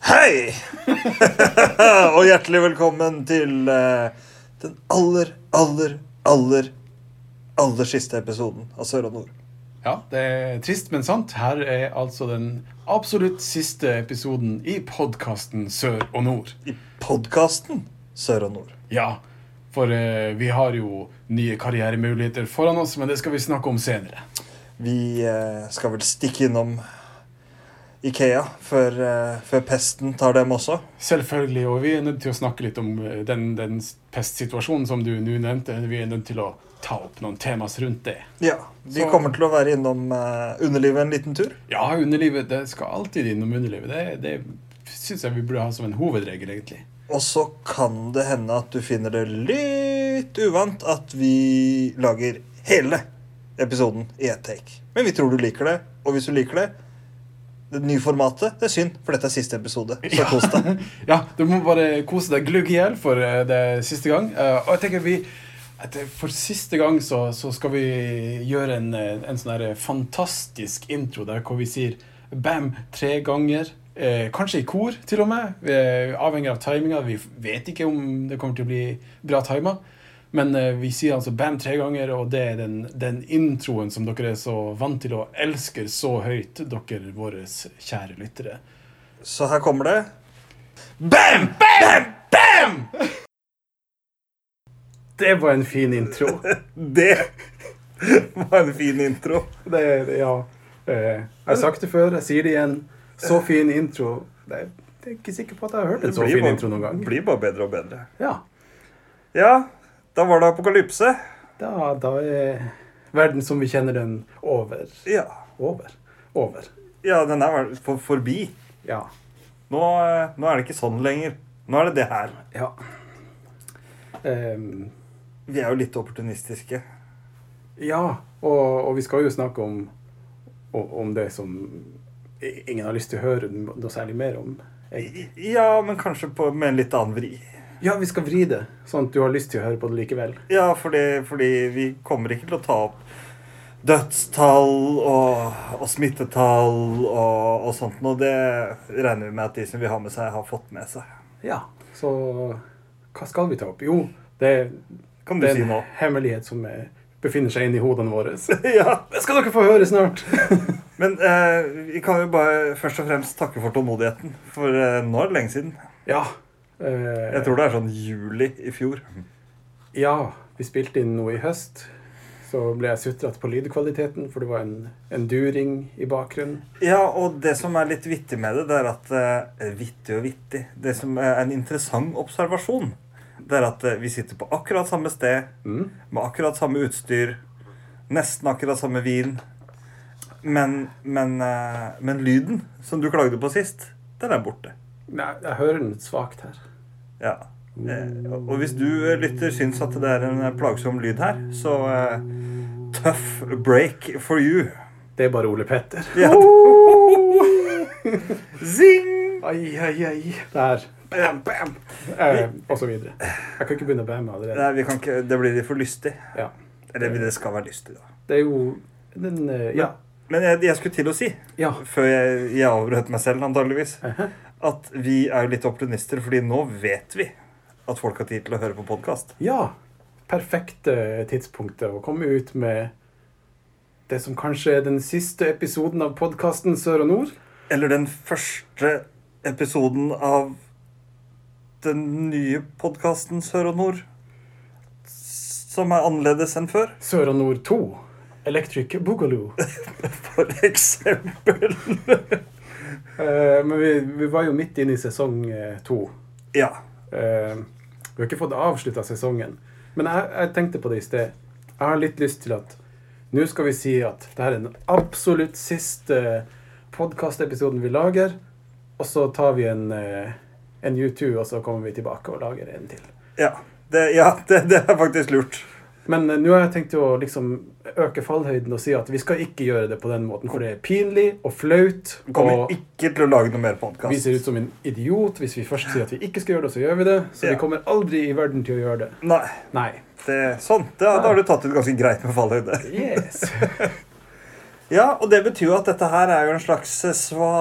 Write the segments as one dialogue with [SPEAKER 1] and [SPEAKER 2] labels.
[SPEAKER 1] Hei! og hjertelig velkommen til eh, den aller, aller, aller, aller siste episoden av Sør og Nord.
[SPEAKER 2] Ja, det er trist, men sant. Her er altså den absolutt siste episoden i podkasten Sør og Nord.
[SPEAKER 1] I podkasten Sør og Nord.
[SPEAKER 2] Ja, for eh, vi har jo nye karrieremuligheter foran oss, men det skal vi snakke om senere.
[SPEAKER 1] Vi eh, skal vel stikke innom Ikea før, eh, før pesten tar dem også.
[SPEAKER 2] Selvfølgelig, og vi er nødt til å snakke litt om eh, den, den pestsituasjonen som du nå nevnte. Vi er nødt til å ta opp noen temas rundt det.
[SPEAKER 1] Ja, Vi
[SPEAKER 2] Så-
[SPEAKER 1] kommer til å være innom eh, underlivet en liten tur.
[SPEAKER 2] Ja, underlivet. Det skal alltid innom underlivet. Det, det syns jeg vi burde ha som en hovedregel, egentlig.
[SPEAKER 1] Og så kan det hende at du finner det litt uvant at vi lager hele episoden i ett take. Men vi tror du liker det, og hvis du liker det Det nye formatet, det er synd, for dette er siste episode. Så kos deg.
[SPEAKER 2] Ja, du må bare kose deg glugg i hjel for eh, det er siste gang. Eh, og jeg tenker vi at det- For siste gang så, så skal vi gjøre en, eh, en sånn her fantastisk intro der hvor vi sier bam tre ganger. Eh, kanskje i kor, til og med. Vi er avhengig av timinga. Vi vet ikke om det kommer til å bli bra tima. Men eh, vi sier altså bam tre ganger, og det er den, den introen som dere er så vant til og elsker så høyt, dere våre kjære lyttere.
[SPEAKER 1] Så her kommer det. Bam! Bam! Bam!
[SPEAKER 2] Det var en fin intro.
[SPEAKER 1] Det var en fin intro.
[SPEAKER 2] Det, er- ja. Eh, Jeg har sagt det før, jeg sier det igjen. Så fin intro. Det er, det er ikke sikker på at jeg har hørt en så fin intro noen gang.
[SPEAKER 1] blir bare bedre og bedre.
[SPEAKER 2] Ja,
[SPEAKER 1] Ja, da var det apokalypse.
[SPEAKER 2] da, da er verden som vi kjenner den, over.
[SPEAKER 1] Ja.
[SPEAKER 2] Over. Over.
[SPEAKER 1] ja den er vel for- forbi.
[SPEAKER 2] Ja.
[SPEAKER 1] Nå, eh, nå er det ikke sånn lenger. Nå er det det her.
[SPEAKER 2] Ja. Ehm,
[SPEAKER 1] Vi er jo litt opportunistiske.
[SPEAKER 2] ja, og, og vi skal jo snakke om, o- om det som i- ingen har lyst til å høre noe særlig mer om. egentlig.
[SPEAKER 1] I- Ja, men kanskje på, med en litt annen vri.
[SPEAKER 2] Ja, vi skal vri det, sånn at du har lyst til å høre på det likevel.
[SPEAKER 1] Ja, fordi, fordi vi kommer ikke til å ta opp dødstall og, og smittetall og, og sånt noe. Det regner vi med at de som vil ha med seg, har fått med seg.
[SPEAKER 2] Ja, så hva skal vi ta opp? Jo, det,
[SPEAKER 1] Kan du
[SPEAKER 2] det
[SPEAKER 1] si
[SPEAKER 2] er en
[SPEAKER 1] nå?
[SPEAKER 2] hemmelighet som eh, befinner seg inni hodene våre. Det
[SPEAKER 1] ja.
[SPEAKER 2] skal dere få høre snart!
[SPEAKER 1] Men eh, vi kan jo bare først og fremst takke for tålmodigheten. For eh, nå er det lenge siden.
[SPEAKER 2] ja. eh,
[SPEAKER 1] Jeg tror det er sånn juli i fjor.
[SPEAKER 2] ja, vi spilte inn noe i høst. Så ble jeg sutret på lydkvaliteten, for det var en, en during i bakgrunnen.
[SPEAKER 1] Ja, og det som er litt vittig med det, det er at eh, Vittig og vittig. Det som er en interessant observasjon, det er at eh, vi sitter på akkurat samme sted,
[SPEAKER 2] Mm.
[SPEAKER 1] med akkurat samme utstyr, nesten akkurat samme vin. Men, men, eh, men lyden som du klagde på sist, den er borte.
[SPEAKER 2] Nei, jeg hører den svakt her.
[SPEAKER 1] Ja. Eh, Og hvis du eh, lytter syns at det er en eh, plagsom lyd her, så eh, Tough break for you.
[SPEAKER 2] Det er bare Ole Petter.
[SPEAKER 1] Ja. Zing!
[SPEAKER 2] Ai, ai, ai. Der. Bam, bam! Eh, og så videre. Jeg kan ikke begynne å bamme allerede.
[SPEAKER 1] Nei, vi kan ikke, det blir for lystig.
[SPEAKER 2] Ja.
[SPEAKER 1] Eller det skal være lystig, da.
[SPEAKER 2] Det er jo den eh, Ja.
[SPEAKER 1] Men jeg, jeg skulle til å si,
[SPEAKER 2] Ja.
[SPEAKER 1] før jeg, jeg avbrøt meg selv antageligvis,
[SPEAKER 2] Ehe.
[SPEAKER 1] at vi er jo litt opportunister, fordi nå vet vi at folk har tid til å høre på podkast.
[SPEAKER 2] Ja. Perfekte eh, tidspunktet å komme ut med det som kanskje er den siste episoden av podkasten Sør og Nord.
[SPEAKER 1] Eller den første episoden av den nye podkasten Sør og Nord, som er annerledes enn før,
[SPEAKER 2] Sør og Nord 2. Electric Boogaloo.
[SPEAKER 1] for eksempel.
[SPEAKER 2] Eh, men vi, vi var jo midt inne i sesong eh, to.
[SPEAKER 1] Ja.
[SPEAKER 2] Eh, vi har ikke fått avslutta sesongen. Men jeg, jeg tenkte på det i sted. Jeg har litt lyst til at nå skal vi si at det her er den absolutt siste podkastepisoden vi lager. Og så tar vi en, eh, en U2, og så kommer vi tilbake og lager en til.
[SPEAKER 1] Ja, det, ja, det, det er faktisk lurt.
[SPEAKER 2] Men eh, nå har jeg tenkt å liksom øke fallhøyden og si at vi skal ikke gjøre det på den måten, for det er pinlig og flaut.
[SPEAKER 1] Vi kommer
[SPEAKER 2] og
[SPEAKER 1] ikke til å lage noe mer
[SPEAKER 2] vi
[SPEAKER 1] podkast.
[SPEAKER 2] ser ut som en idiot hvis vi først sier at vi ikke skal gjøre det, så gjør vi det. Så
[SPEAKER 1] Ja.
[SPEAKER 2] vi kommer aldri i verden til å gjøre det.
[SPEAKER 1] Nei.
[SPEAKER 2] Nei.
[SPEAKER 1] eh, Det, sånn. Da, da har du tatt ut ganske greit med fallhøyde.
[SPEAKER 2] Yes.
[SPEAKER 1] Ja, og det betyr jo at dette her er jo en slags eh, sva,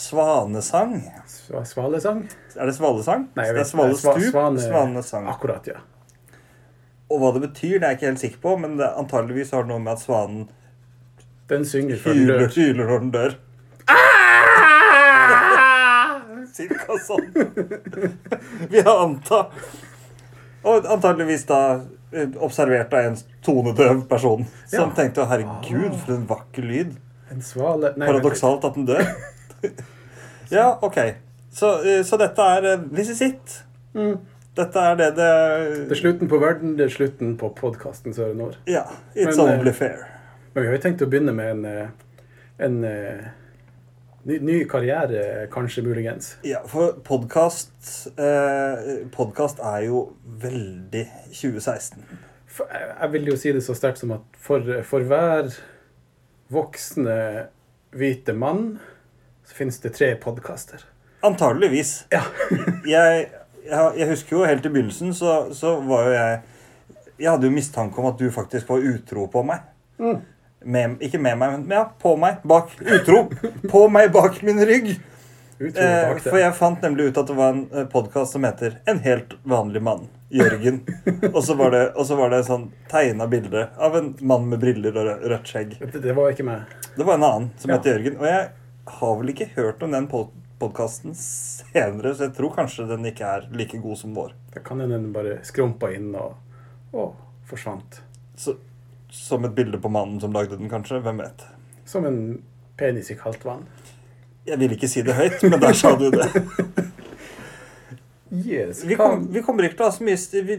[SPEAKER 1] svanesang.
[SPEAKER 2] Sva- Svalesang?
[SPEAKER 1] Er det svalesang?
[SPEAKER 2] Nei, jeg
[SPEAKER 1] det
[SPEAKER 2] vet
[SPEAKER 1] er svalestup,
[SPEAKER 2] Svane-
[SPEAKER 1] svanesang.
[SPEAKER 2] Akkurat, ja.
[SPEAKER 1] Og hva det betyr, det er jeg ikke helt sikker på, men det, antageligvis har det noe med at svanen
[SPEAKER 2] Den synger før den
[SPEAKER 1] hyler,
[SPEAKER 2] dør.
[SPEAKER 1] hyler når den dør.
[SPEAKER 2] Ah!
[SPEAKER 1] Cirka sånn. Vi har anta Og antageligvis da eh, observert av en tonedøv person som
[SPEAKER 2] Ja.
[SPEAKER 1] tenkte 'Å, herregud, for en vakker lyd'.
[SPEAKER 2] En svale Nei, vent litt.
[SPEAKER 1] Paradoksalt at den dør. ja, OK. Så, eh, så dette er eh, This is it.
[SPEAKER 2] Mm.
[SPEAKER 1] Dette er det
[SPEAKER 2] Det er
[SPEAKER 1] det
[SPEAKER 2] slutten på verden, det er slutten på podkasten Søren Aar.
[SPEAKER 1] Ja. It's
[SPEAKER 2] Men, eh,
[SPEAKER 1] only fair.
[SPEAKER 2] Men vi har jo tenkt å begynne med en, eh, en eh, ny, ny karriere, kanskje, muligens.
[SPEAKER 1] Ja, for podkast eh, Podkast er jo veldig 2016.
[SPEAKER 2] For, jeg jeg vil jo si det så sterkt som at for, for hver voksne hvite mann, så finnes det tre podkaster.
[SPEAKER 1] Antageligvis.
[SPEAKER 2] Ja.
[SPEAKER 1] jeg, jeg, jeg husker jo helt i begynnelsen, så, så var jo jeg Jeg hadde jo mistanke om at du faktisk var utro på meg.
[SPEAKER 2] Mm.
[SPEAKER 1] Med, ikke med meg, men ja, på meg. Bak. Utro. På meg bak min rygg.
[SPEAKER 2] Utrolig
[SPEAKER 1] Eh,
[SPEAKER 2] bak det.
[SPEAKER 1] for jeg fant nemlig ut at det var en podkast som heter 'En helt vanlig mann'. Jørgen. og, så var det, og så var det sånn tegna bilde av en mann med briller og rø- rødt skjegg.
[SPEAKER 2] Det, det var ikke meg.
[SPEAKER 1] Det var en annen som
[SPEAKER 2] Ja.
[SPEAKER 1] heter Jørgen. Og jeg har vel ikke hørt om den podkasten senere, så jeg tror kanskje den ikke er like god som vår.
[SPEAKER 2] Da kan hende den bare skrumpa inn og, og forsvant.
[SPEAKER 1] Så, som et bilde på mannen som lagde den, kanskje. Hvem vet.
[SPEAKER 2] Som en penis i kaldt vann.
[SPEAKER 1] Jeg vil ikke si det høyt, men der sa du det.
[SPEAKER 2] Yes,
[SPEAKER 1] Vi,
[SPEAKER 2] hva-
[SPEAKER 1] kom, vi kommer ikke til å ha så mye st- vi,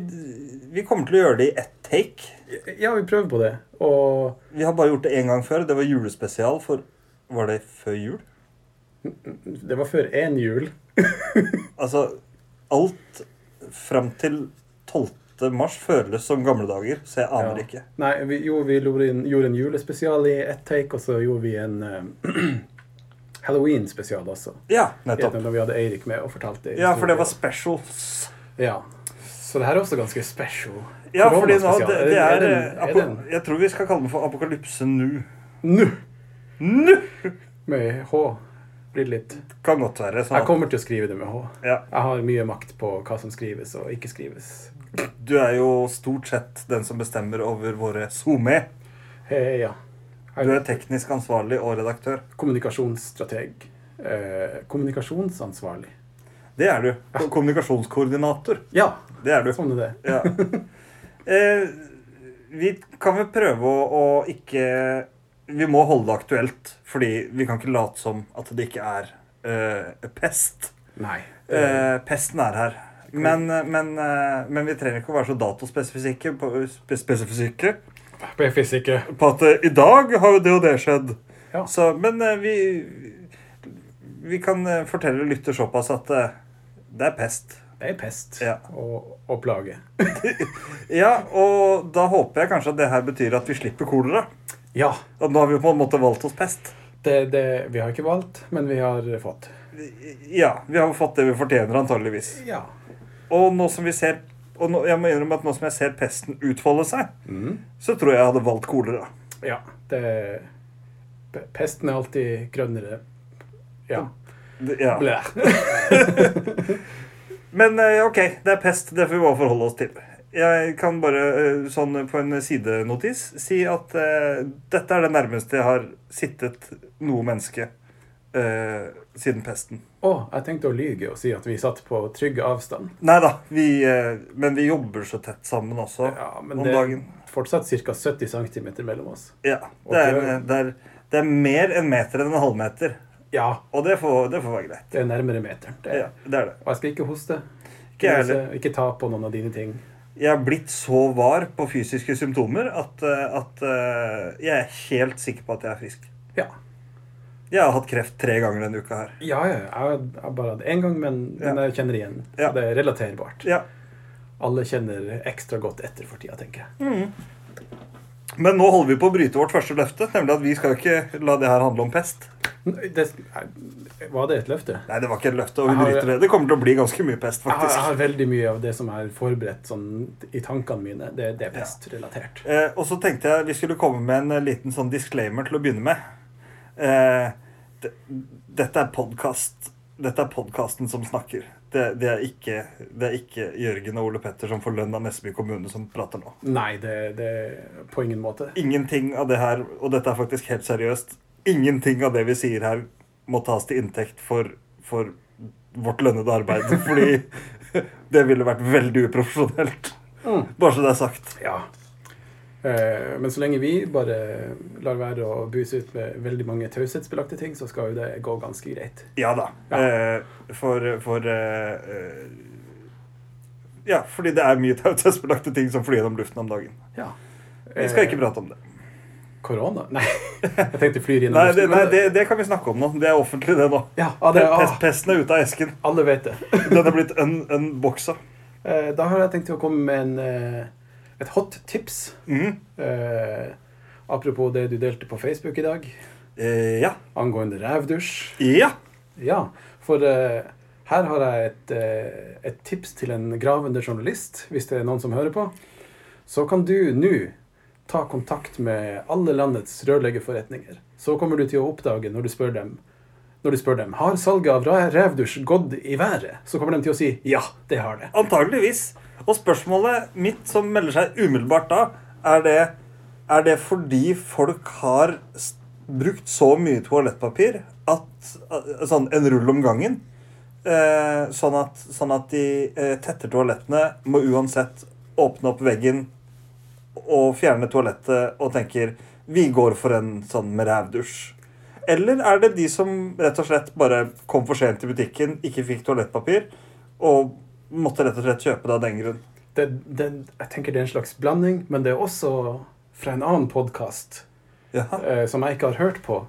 [SPEAKER 1] vi kommer til å gjøre det i ett take.
[SPEAKER 2] Ja, vi prøver på det. Og
[SPEAKER 1] Vi har bare gjort det én gang før. Det var julespesial for Var det før jul?
[SPEAKER 2] det var før én jul.
[SPEAKER 1] Altså, alt fram til 12. mars føles som gamle dager, så jeg aner
[SPEAKER 2] Ja.
[SPEAKER 1] ikke.
[SPEAKER 2] Nei, vi, jo, vi gjorde en, gjorde en julespesial i ett take, og så gjorde vi en eh, Halloween-spesial også.
[SPEAKER 1] Ja,
[SPEAKER 2] Ja,
[SPEAKER 1] nettopp.
[SPEAKER 2] Når vi hadde Eirik med og fortalte
[SPEAKER 1] Ja, for det var
[SPEAKER 2] historien.
[SPEAKER 1] specials.
[SPEAKER 2] Ja. Så det her er også ganske special.
[SPEAKER 1] Ja, fordi nå
[SPEAKER 2] Koronaspesial.
[SPEAKER 1] det, det er,
[SPEAKER 2] den-
[SPEAKER 1] eh,
[SPEAKER 2] er
[SPEAKER 1] apo- Jeg tror vi skal kalle den for Apokalypse nu.
[SPEAKER 2] den Nå! Med H. Blir litt
[SPEAKER 1] Kan godt være. sånn
[SPEAKER 2] Jeg
[SPEAKER 1] at-
[SPEAKER 2] kommer til å skrive det med H.
[SPEAKER 1] Ja,
[SPEAKER 2] Jeg har mye makt på hva som skrives og ikke skrives.
[SPEAKER 1] du er jo stort sett den som bestemmer over våre SoMe.
[SPEAKER 2] Hei, ja.
[SPEAKER 1] Du er teknisk ansvarlig og redaktør.
[SPEAKER 2] Kommunikasjonsstrateg. Eh, kommunikasjonsansvarlig.
[SPEAKER 1] Det er du. Og kommunikasjonskoordinator.
[SPEAKER 2] Ja,
[SPEAKER 1] Det er du.
[SPEAKER 2] sånn er det.
[SPEAKER 1] Ja. Eh, vi kan vel prøve å, å ikke Vi må holde det aktuelt, fordi vi kan ikke late som at det ikke er eh, pest.
[SPEAKER 2] Nei. Eh,
[SPEAKER 1] Eh, pesten er her. Men, men, eh, men vi trenger ikke å være så datospesifikke på, spe- spesifikke
[SPEAKER 2] PFIS ikke.
[SPEAKER 1] på at eh, i dag har jo det og det skjedd.
[SPEAKER 2] Ja.
[SPEAKER 1] Så, men eh, vi, vi kan eh, fortelle lytter såpass at eh, det er pest.
[SPEAKER 2] Det er pest
[SPEAKER 1] Ja.
[SPEAKER 2] og, og plage.
[SPEAKER 1] Ja, og da håper jeg kanskje at det her betyr at vi slipper kolera.
[SPEAKER 2] Ja.
[SPEAKER 1] Og nå har vi på en måte valgt oss pest.
[SPEAKER 2] Det, det, vi har ikke valgt, men vi har fått.
[SPEAKER 1] Ja, vi har fått det vi fortjener antageligvis.
[SPEAKER 2] Ja.
[SPEAKER 1] Og nå som vi ser og nå, jeg må innrømme at nå som jeg ser pesten utfolde seg,
[SPEAKER 2] Mm.
[SPEAKER 1] så tror jeg jeg hadde valgt kolera.
[SPEAKER 2] ja. Det, pe- pesten er alltid grønnere. Ja.
[SPEAKER 1] Det- Ja.
[SPEAKER 2] Blæ.
[SPEAKER 1] Men eh, ok, det er pest. Det får vi bare forholde oss til. Jeg kan bare eh, sånn på en sidenotis si at eh, dette er det nærmeste jeg har sittet noe menneske eh, siden pesten.
[SPEAKER 2] Og jeg tenkte å lyge og si at vi satt på trygg avstand.
[SPEAKER 1] Nei da, vi, eh, men vi jobber så tett sammen også
[SPEAKER 2] Ja, men
[SPEAKER 1] om
[SPEAKER 2] det er
[SPEAKER 1] dagen.
[SPEAKER 2] fortsatt ca. 70 cm mellom oss.
[SPEAKER 1] Ja,
[SPEAKER 2] Og
[SPEAKER 1] det er,
[SPEAKER 2] det er-
[SPEAKER 1] det, er, det er mer enn meter enn en halvmeter.
[SPEAKER 2] Ja,
[SPEAKER 1] Og det får, det får være greit.
[SPEAKER 2] det er nærmere meteren. Det,
[SPEAKER 1] Ja, det er det.
[SPEAKER 2] Og jeg skal ikke hoste.
[SPEAKER 1] Ikke jeg heller.
[SPEAKER 2] ikke ta på noen av dine ting.
[SPEAKER 1] Jeg er blitt så var på fysiske symptomer at, eh, at eh, jeg er helt sikker på at jeg er frisk.
[SPEAKER 2] Ja.
[SPEAKER 1] Jeg har hatt kreft tre ganger denne uka her.
[SPEAKER 2] Ja, ja. Jeg har bare hatt én gang, men, men
[SPEAKER 1] Ja.
[SPEAKER 2] jeg kjenner igjen. Så
[SPEAKER 1] Ja.
[SPEAKER 2] det er relaterbart.
[SPEAKER 1] Ja.
[SPEAKER 2] Alle kjenner ekstra godt etter for tida, tenker jeg.
[SPEAKER 1] Mm. Men nå holder vi på å bryte vårt første løfte, nemlig at vi skal ikke la det her handle om pest.
[SPEAKER 2] N- Det, jeg- var det et løfte?
[SPEAKER 1] Nei, det var ikke et løfte, og vi
[SPEAKER 2] Jeg har-
[SPEAKER 1] bryter det. Det kommer til å bli ganske mye pest,
[SPEAKER 2] Jeg har, jeg
[SPEAKER 1] faktisk.
[SPEAKER 2] har veldig mye av det som er forberedt sånn, i tankene mine. Det, det er pestrelatert.
[SPEAKER 1] Eh, og så tenkte jeg vi skulle komme med en eh, liten sånn disclaimer til å begynne med. Eh, det, dette er podkast. Dette er podkasten som snakker. Det, det, er ikke, det er ikke Jørgen og Ole Petter som får lønn av Nesseby kommune, som prater nå.
[SPEAKER 2] Nei, det, det på ingen måte.
[SPEAKER 1] Ingenting av det her, og dette er faktisk helt seriøst, ingenting av det vi sier her må tas til inntekt for, for vårt lønnede arbeid. Fordi det ville vært veldig uprofesjonelt.
[SPEAKER 2] Mm.
[SPEAKER 1] Bare så det er sagt.
[SPEAKER 2] Ja. Eh, Men så lenge vi bare lar være å buse ut med veldig mange taushetsbelagte ting, så skal jo det gå ganske greit.
[SPEAKER 1] Ja da.
[SPEAKER 2] Ja.
[SPEAKER 1] Eh, for for eh, eh, Ja, fordi det er mye taushetsbelagte ting som flyr gjennom luften om dagen.
[SPEAKER 2] Ja.
[SPEAKER 1] Vi skal ikke prate om det.
[SPEAKER 2] Eh, Korona? Nei, jeg tenkte flyr inn
[SPEAKER 1] Nei, det, nei det, det kan vi snakke om nå. Det er offentlig, det nå.
[SPEAKER 2] Ja, ah, det,
[SPEAKER 1] Pes-
[SPEAKER 2] ah,
[SPEAKER 1] Pesten er ute av esken.
[SPEAKER 2] alle vet det.
[SPEAKER 1] Den er blitt un unboxa.
[SPEAKER 2] Eh, Da har jeg tenkt å komme med en, eh, et hot tips.
[SPEAKER 1] Mhm.
[SPEAKER 2] Eh, apropos det du delte på Facebook i dag,
[SPEAKER 1] Eh, ja.
[SPEAKER 2] angående rævdusj.
[SPEAKER 1] Ja.
[SPEAKER 2] Ja, for eh, her har jeg et, eh, et tips til en gravende journalist, hvis det er noen som hører på. Så kan du nå ta kontakt med alle landets rørleggerforretninger. Så kommer du til å oppdage når du spør dem når du spør dem, har salget av ra- revdusj gått i været, så kommer de til å si ja, det har det.
[SPEAKER 1] Antageligvis. Og spørsmålet mitt som melder seg umiddelbart da, er det, er det fordi folk har s- brukt så mye toalettpapir at eh, Sånn en rull om gangen. Eh, sånn, at, sånn at de eh, tetter toalettene, må uansett åpne opp veggen og fjerne toalettet og tenker Vi går for en sånn med rævdusj. Eller er det de som rett og slett bare kom for sent til butikken, ikke fikk toalettpapir, og måtte rett og slett kjøpe det av den grunn?
[SPEAKER 2] det, det jeg tenker det er en slags blanding, men det er også fra en annen podkast
[SPEAKER 1] Jaha.
[SPEAKER 2] eh, som jeg ikke har hørt på,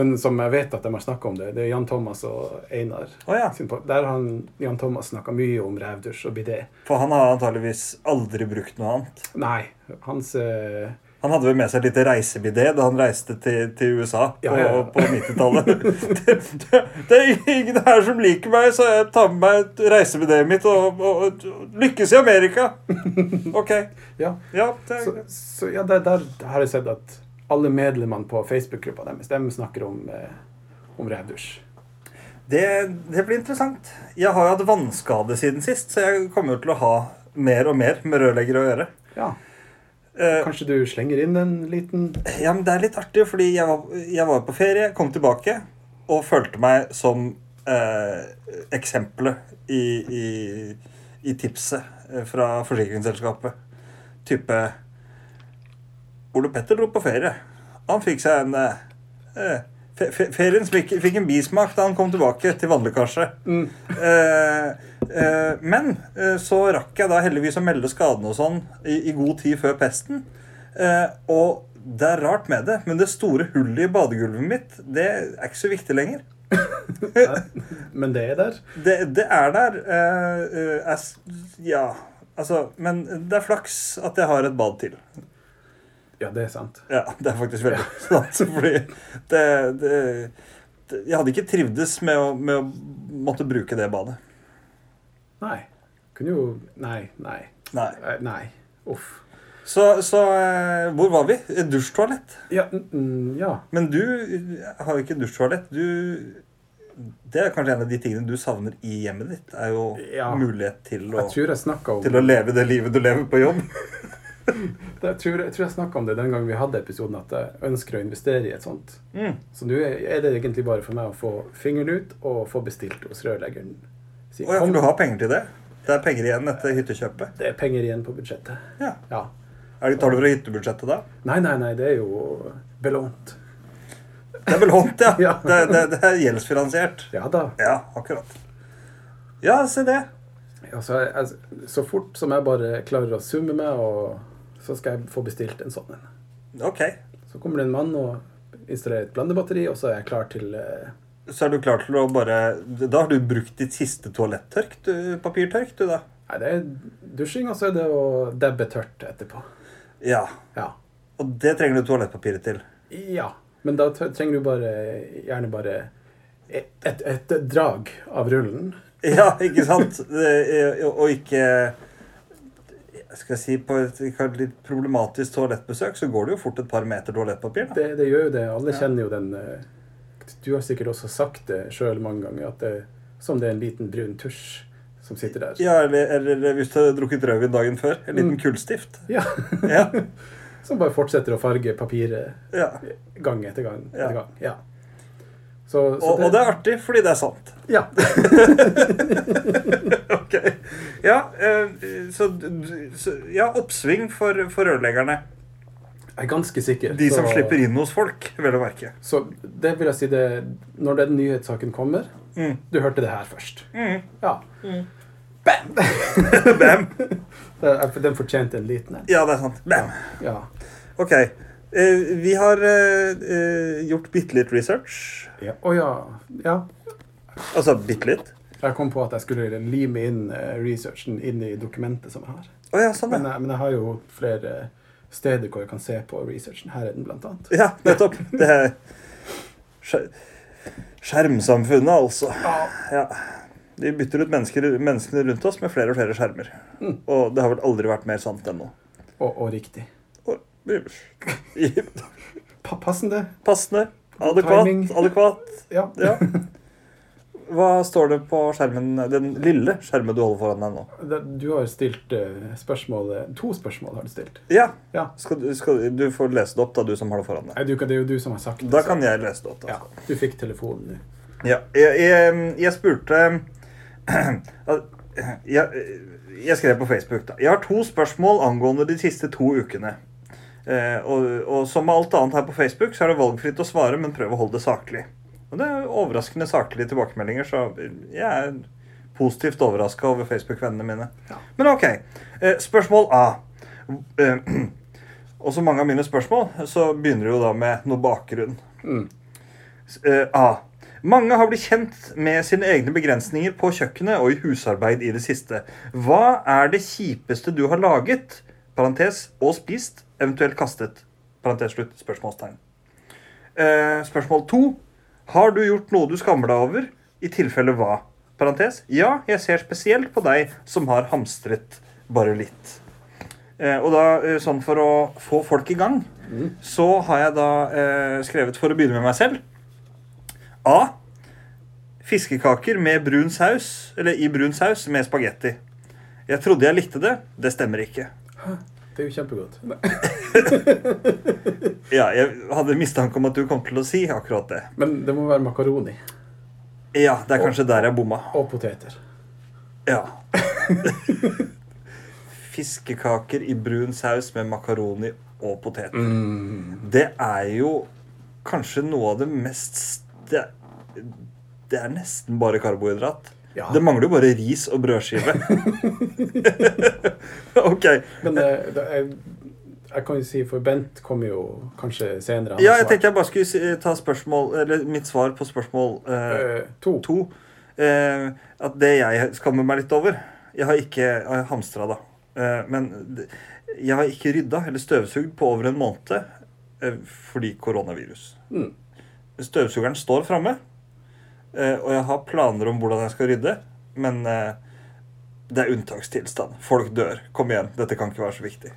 [SPEAKER 2] men som jeg vet at de har snakka om det. Det er Jan Thomas og Einar.
[SPEAKER 1] Å ja.
[SPEAKER 2] sin pod- Der har han, Jan Thomas snakka mye om rævdusj og bidé.
[SPEAKER 1] For han har antageligvis aldri brukt noe annet.
[SPEAKER 2] Nei, hans eh,
[SPEAKER 1] Han hadde vel med seg et lite reisebidé da han reiste til, til USA
[SPEAKER 2] Ja, ja, ja.
[SPEAKER 1] på, på 90-tallet. det, det, det er ingen her som liker meg, så jeg tar med meg et reisebidé mitt og, og, og lykkes i Amerika. OK.
[SPEAKER 2] Ja,
[SPEAKER 1] Ja, det,
[SPEAKER 2] så, så ja, der, der har jeg sett at alle medlemmene på Facebook-gruppa deres de snakker om, eh, om rævdusj.
[SPEAKER 1] det, det blir interessant. Jeg har jo hatt vannskade siden sist, så jeg kommer jo til å ha mer og mer med rørleggere å gjøre.
[SPEAKER 2] Ja,
[SPEAKER 1] Eh,
[SPEAKER 2] kanskje du slenger inn en liten
[SPEAKER 1] Ja, men det er litt artig, fordi jeg var, jeg var på ferie, kom tilbake og følte meg som eh, eksempelet i, i, i tipset eh, fra forsikringsselskapet. Type Ole Petter dro på ferie. Han fikk seg en eh, eh, fe, fe, Ferien fikk, fikk en bismak da han kom tilbake til vannlekkasje. Eh, eh, men eh, så rakk jeg da heldigvis å melde skadene og sånn i, i god tid før pesten. Eh, og det er rart med det, men det store hullet i badegulvet mitt, det er ikke så viktig lenger.
[SPEAKER 2] Men det er der.
[SPEAKER 1] Det, det er der. eh, eh, jeg s- ja, altså Men det er flaks at jeg har et bad til.
[SPEAKER 2] Ja, det er sant.
[SPEAKER 1] Ja, det er faktisk veldig sant. Fordi det, det, det Jeg hadde ikke trivdes med å, med å måtte bruke det badet.
[SPEAKER 2] Nei. Kunne jo Nei, nei.
[SPEAKER 1] Nei.
[SPEAKER 2] Eh, Nei. Uff.
[SPEAKER 1] Så, så eh, hvor var vi? Et Dusjtoalett.
[SPEAKER 2] Ja, mm, mm, ja.
[SPEAKER 1] Men du eh, har jo ikke dusjtoalett. Du Det er kanskje en av de tingene du savner i hjemmet ditt. Er jo
[SPEAKER 2] Ja.
[SPEAKER 1] mulighet til å,
[SPEAKER 2] Jeg tror jeg snakka om
[SPEAKER 1] til å leve det livet du lever på jobb.
[SPEAKER 2] Jeg tror, jeg tror jeg snakket om det den gangen vi hadde episoden, at jeg ønsker å investere i et sånt.
[SPEAKER 1] Mm.
[SPEAKER 2] Så nå er er det egentlig bare for meg å få fingeren ut og få bestilt hos rørleggeren. Si,
[SPEAKER 1] Og ja,
[SPEAKER 2] kom,
[SPEAKER 1] for du har penger til det? Det er penger igjen etter hyttekjøpet?
[SPEAKER 2] Det er penger igjen på budsjettet.
[SPEAKER 1] Ja.
[SPEAKER 2] Ja.
[SPEAKER 1] Er det, tar du fra hyttebudsjettet da?
[SPEAKER 2] Nei, nei, nei, det er jo belånt.
[SPEAKER 1] Det er belånt, ja.
[SPEAKER 2] Ja.
[SPEAKER 1] Det, det, det er gjeldsfinansiert.
[SPEAKER 2] Ja da.
[SPEAKER 1] Ja, akkurat. Ja, se det.
[SPEAKER 2] Altså, jeg, jeg, så fort som jeg bare klarer å summe meg, og så skal jeg få bestilt en sånn en.
[SPEAKER 1] Ok.
[SPEAKER 2] Så kommer det en mann og installerer et blandebatteri, og så er jeg klar til eh,
[SPEAKER 1] Så er du klar til å bare Da har du brukt ditt siste toalettørk, du, papirtørk, du, da?
[SPEAKER 2] Nei, det er dusjing, og så er det å dabbe tørt etterpå.
[SPEAKER 1] Ja.
[SPEAKER 2] Ja.
[SPEAKER 1] Og det trenger du toalettpapiret til.
[SPEAKER 2] Ja, men da t- trenger du bare, gjerne bare et, et, et drag av rullen.
[SPEAKER 1] Ja, ikke sant? Det, og og ikke skal eh, jeg si, på et litt problematisk toalettbesøk, så går det jo fort et par meter toalettpapir. Da.
[SPEAKER 2] Det, det gjør jo det. Alle kjenner jo den eh, Du har sikkert også sagt det sjøl mange ganger, at det som det er en liten brun tusj som sitter der.
[SPEAKER 1] Ja, eller, eller hvis du har drukket rødvin dagen før. En liten
[SPEAKER 2] Mm.
[SPEAKER 1] kullstift.
[SPEAKER 2] Ja.
[SPEAKER 1] Ja.
[SPEAKER 2] Som bare fortsetter å farge papiret
[SPEAKER 1] ja.
[SPEAKER 2] gang etter gang.
[SPEAKER 1] Ja.
[SPEAKER 2] etter gang. Ja. Så, så
[SPEAKER 1] Og, og det er artig, fordi det er sant.
[SPEAKER 2] Ja.
[SPEAKER 1] Ok. Ja, eh, så, så Ja, oppsving for, for rørleggerne.
[SPEAKER 2] Jeg er ganske sikker.
[SPEAKER 1] De som
[SPEAKER 2] så,
[SPEAKER 1] slipper inn hos folk, vel å merke.
[SPEAKER 2] Så det vil jeg si det Når den nyhetssaken kommer
[SPEAKER 1] Mm.
[SPEAKER 2] Du hørte det her først.
[SPEAKER 1] Mm.
[SPEAKER 2] Ja.
[SPEAKER 1] Bam.
[SPEAKER 2] Det- Den fortjente en liten en.
[SPEAKER 1] Ja, det er sant. Bam.
[SPEAKER 2] Ja.
[SPEAKER 1] Ok. Eh, vi har eh, eh, gjort bitte litt research.
[SPEAKER 2] Å ja. ja.
[SPEAKER 1] Altså bitte litt?
[SPEAKER 2] Jeg kom på at jeg skulle lime inn eh, researchen inn i dokumentet som jeg har.
[SPEAKER 1] Å ja, sånn,
[SPEAKER 2] Men
[SPEAKER 1] ja.
[SPEAKER 2] jeg, men jeg har jo flere steder hvor jeg kan se på researchen. Her er den, blant annet.
[SPEAKER 1] Ja, nettopp. Det er skjer- skjermsamfunnet, altså.
[SPEAKER 2] Ja.
[SPEAKER 1] Ja. Vi bytter ut mennesker, menneskene rundt oss med flere og flere skjermer.
[SPEAKER 2] Mm.
[SPEAKER 1] Og det har vel aldri vært mer sant enn nå.
[SPEAKER 2] Og, og riktig.
[SPEAKER 1] Og-
[SPEAKER 2] Pa passende.
[SPEAKER 1] Passende, adekvat,
[SPEAKER 2] Timing.
[SPEAKER 1] adekvat.
[SPEAKER 2] Ja.
[SPEAKER 1] Ja. Hva står det på skjermen, den lille skjermen du holder foran deg nå?
[SPEAKER 2] Det- Du har stilt eh, spørsmål To spørsmål har du stilt.
[SPEAKER 1] Ja.
[SPEAKER 2] Ja.
[SPEAKER 1] Skal, du- skal, du får lese det opp, da, du som har det foran deg.
[SPEAKER 2] Nei, du, kan- det er jo du som har sagt det.
[SPEAKER 1] Da
[SPEAKER 2] så-
[SPEAKER 1] kan jeg lese det opp. Da.
[SPEAKER 2] ja, Du fikk telefonen nå.
[SPEAKER 1] Ja, jeg, jeg, jeg spurte jeg, jeg skrev på Facebook, da. Jeg har to spørsmål angående de siste to ukene. Eh, og, og som med alt annet her på Facebook, så er det valgfritt å svare, men prøv å holde det saklig. Og det er overraskende saklige tilbakemeldinger, så jeg er positivt overraska over Facebook-vennene mine.
[SPEAKER 2] Ja.
[SPEAKER 1] Men ok. eh, Spørsmål A. Eh, Og som mange av mine spørsmål, så begynner det jo da med noe bakgrunn.
[SPEAKER 2] Mm.
[SPEAKER 1] Eh, A. Mange har blitt kjent med sine egne begrensninger på kjøkkenet og i husarbeid i det siste. Hva er det kjipeste du har laget, parentes, og spist, eventuelt kastet? Parentes slutt, spørsmålstegn. Eh, spørsmål to. Har du gjort noe du skammer deg over? I tilfelle hva? Parentes. Ja, jeg ser spesielt på deg som har hamstret bare litt. Eh, og da, eh, sånn for å få folk i gang, så har jeg da eh, skrevet for å begynne med meg selv. A. Fiskekaker med brun saus, eller i brun saus med spagetti. Jeg trodde jeg likte det. Det stemmer ikke.
[SPEAKER 2] Det er jo kjempegodt.
[SPEAKER 1] Ja, jeg hadde mistanke om at du kom til å si akkurat det.
[SPEAKER 2] Men det må være makaroni
[SPEAKER 1] Ja, det er kanskje der jeg bomma.
[SPEAKER 2] og poteter.
[SPEAKER 1] Ja. Fiskekaker i brun saus med makaroni og poteter. Det er jo kanskje noe av det mest Det, det er nesten bare karbohydrat.
[SPEAKER 2] Ja.
[SPEAKER 1] Det mangler jo bare ris og brødskive. ok.
[SPEAKER 2] Men eh, da, jeg, jeg kan jo si, for Bent kommer jo kanskje senere. han
[SPEAKER 1] Ja,
[SPEAKER 2] har
[SPEAKER 1] jeg
[SPEAKER 2] svart.
[SPEAKER 1] tenkte jeg bare skulle si- ta spørsmål, eller mitt svar på spørsmål eh,
[SPEAKER 2] Eh, to.
[SPEAKER 1] to. Eh, at det jeg skammer meg litt over Jeg har ikke jeg har hamstra, da. Eh, men det- jeg har ikke rydda eller støvsugd på over en måned eh, fordi koronavirus.
[SPEAKER 2] Mm.
[SPEAKER 1] Støvsugeren står framme, eh, og jeg har planer om hvordan jeg skal rydde, men eh, det er unntakstilstand. Folk dør. Kom igjen, dette kan ikke være så viktig.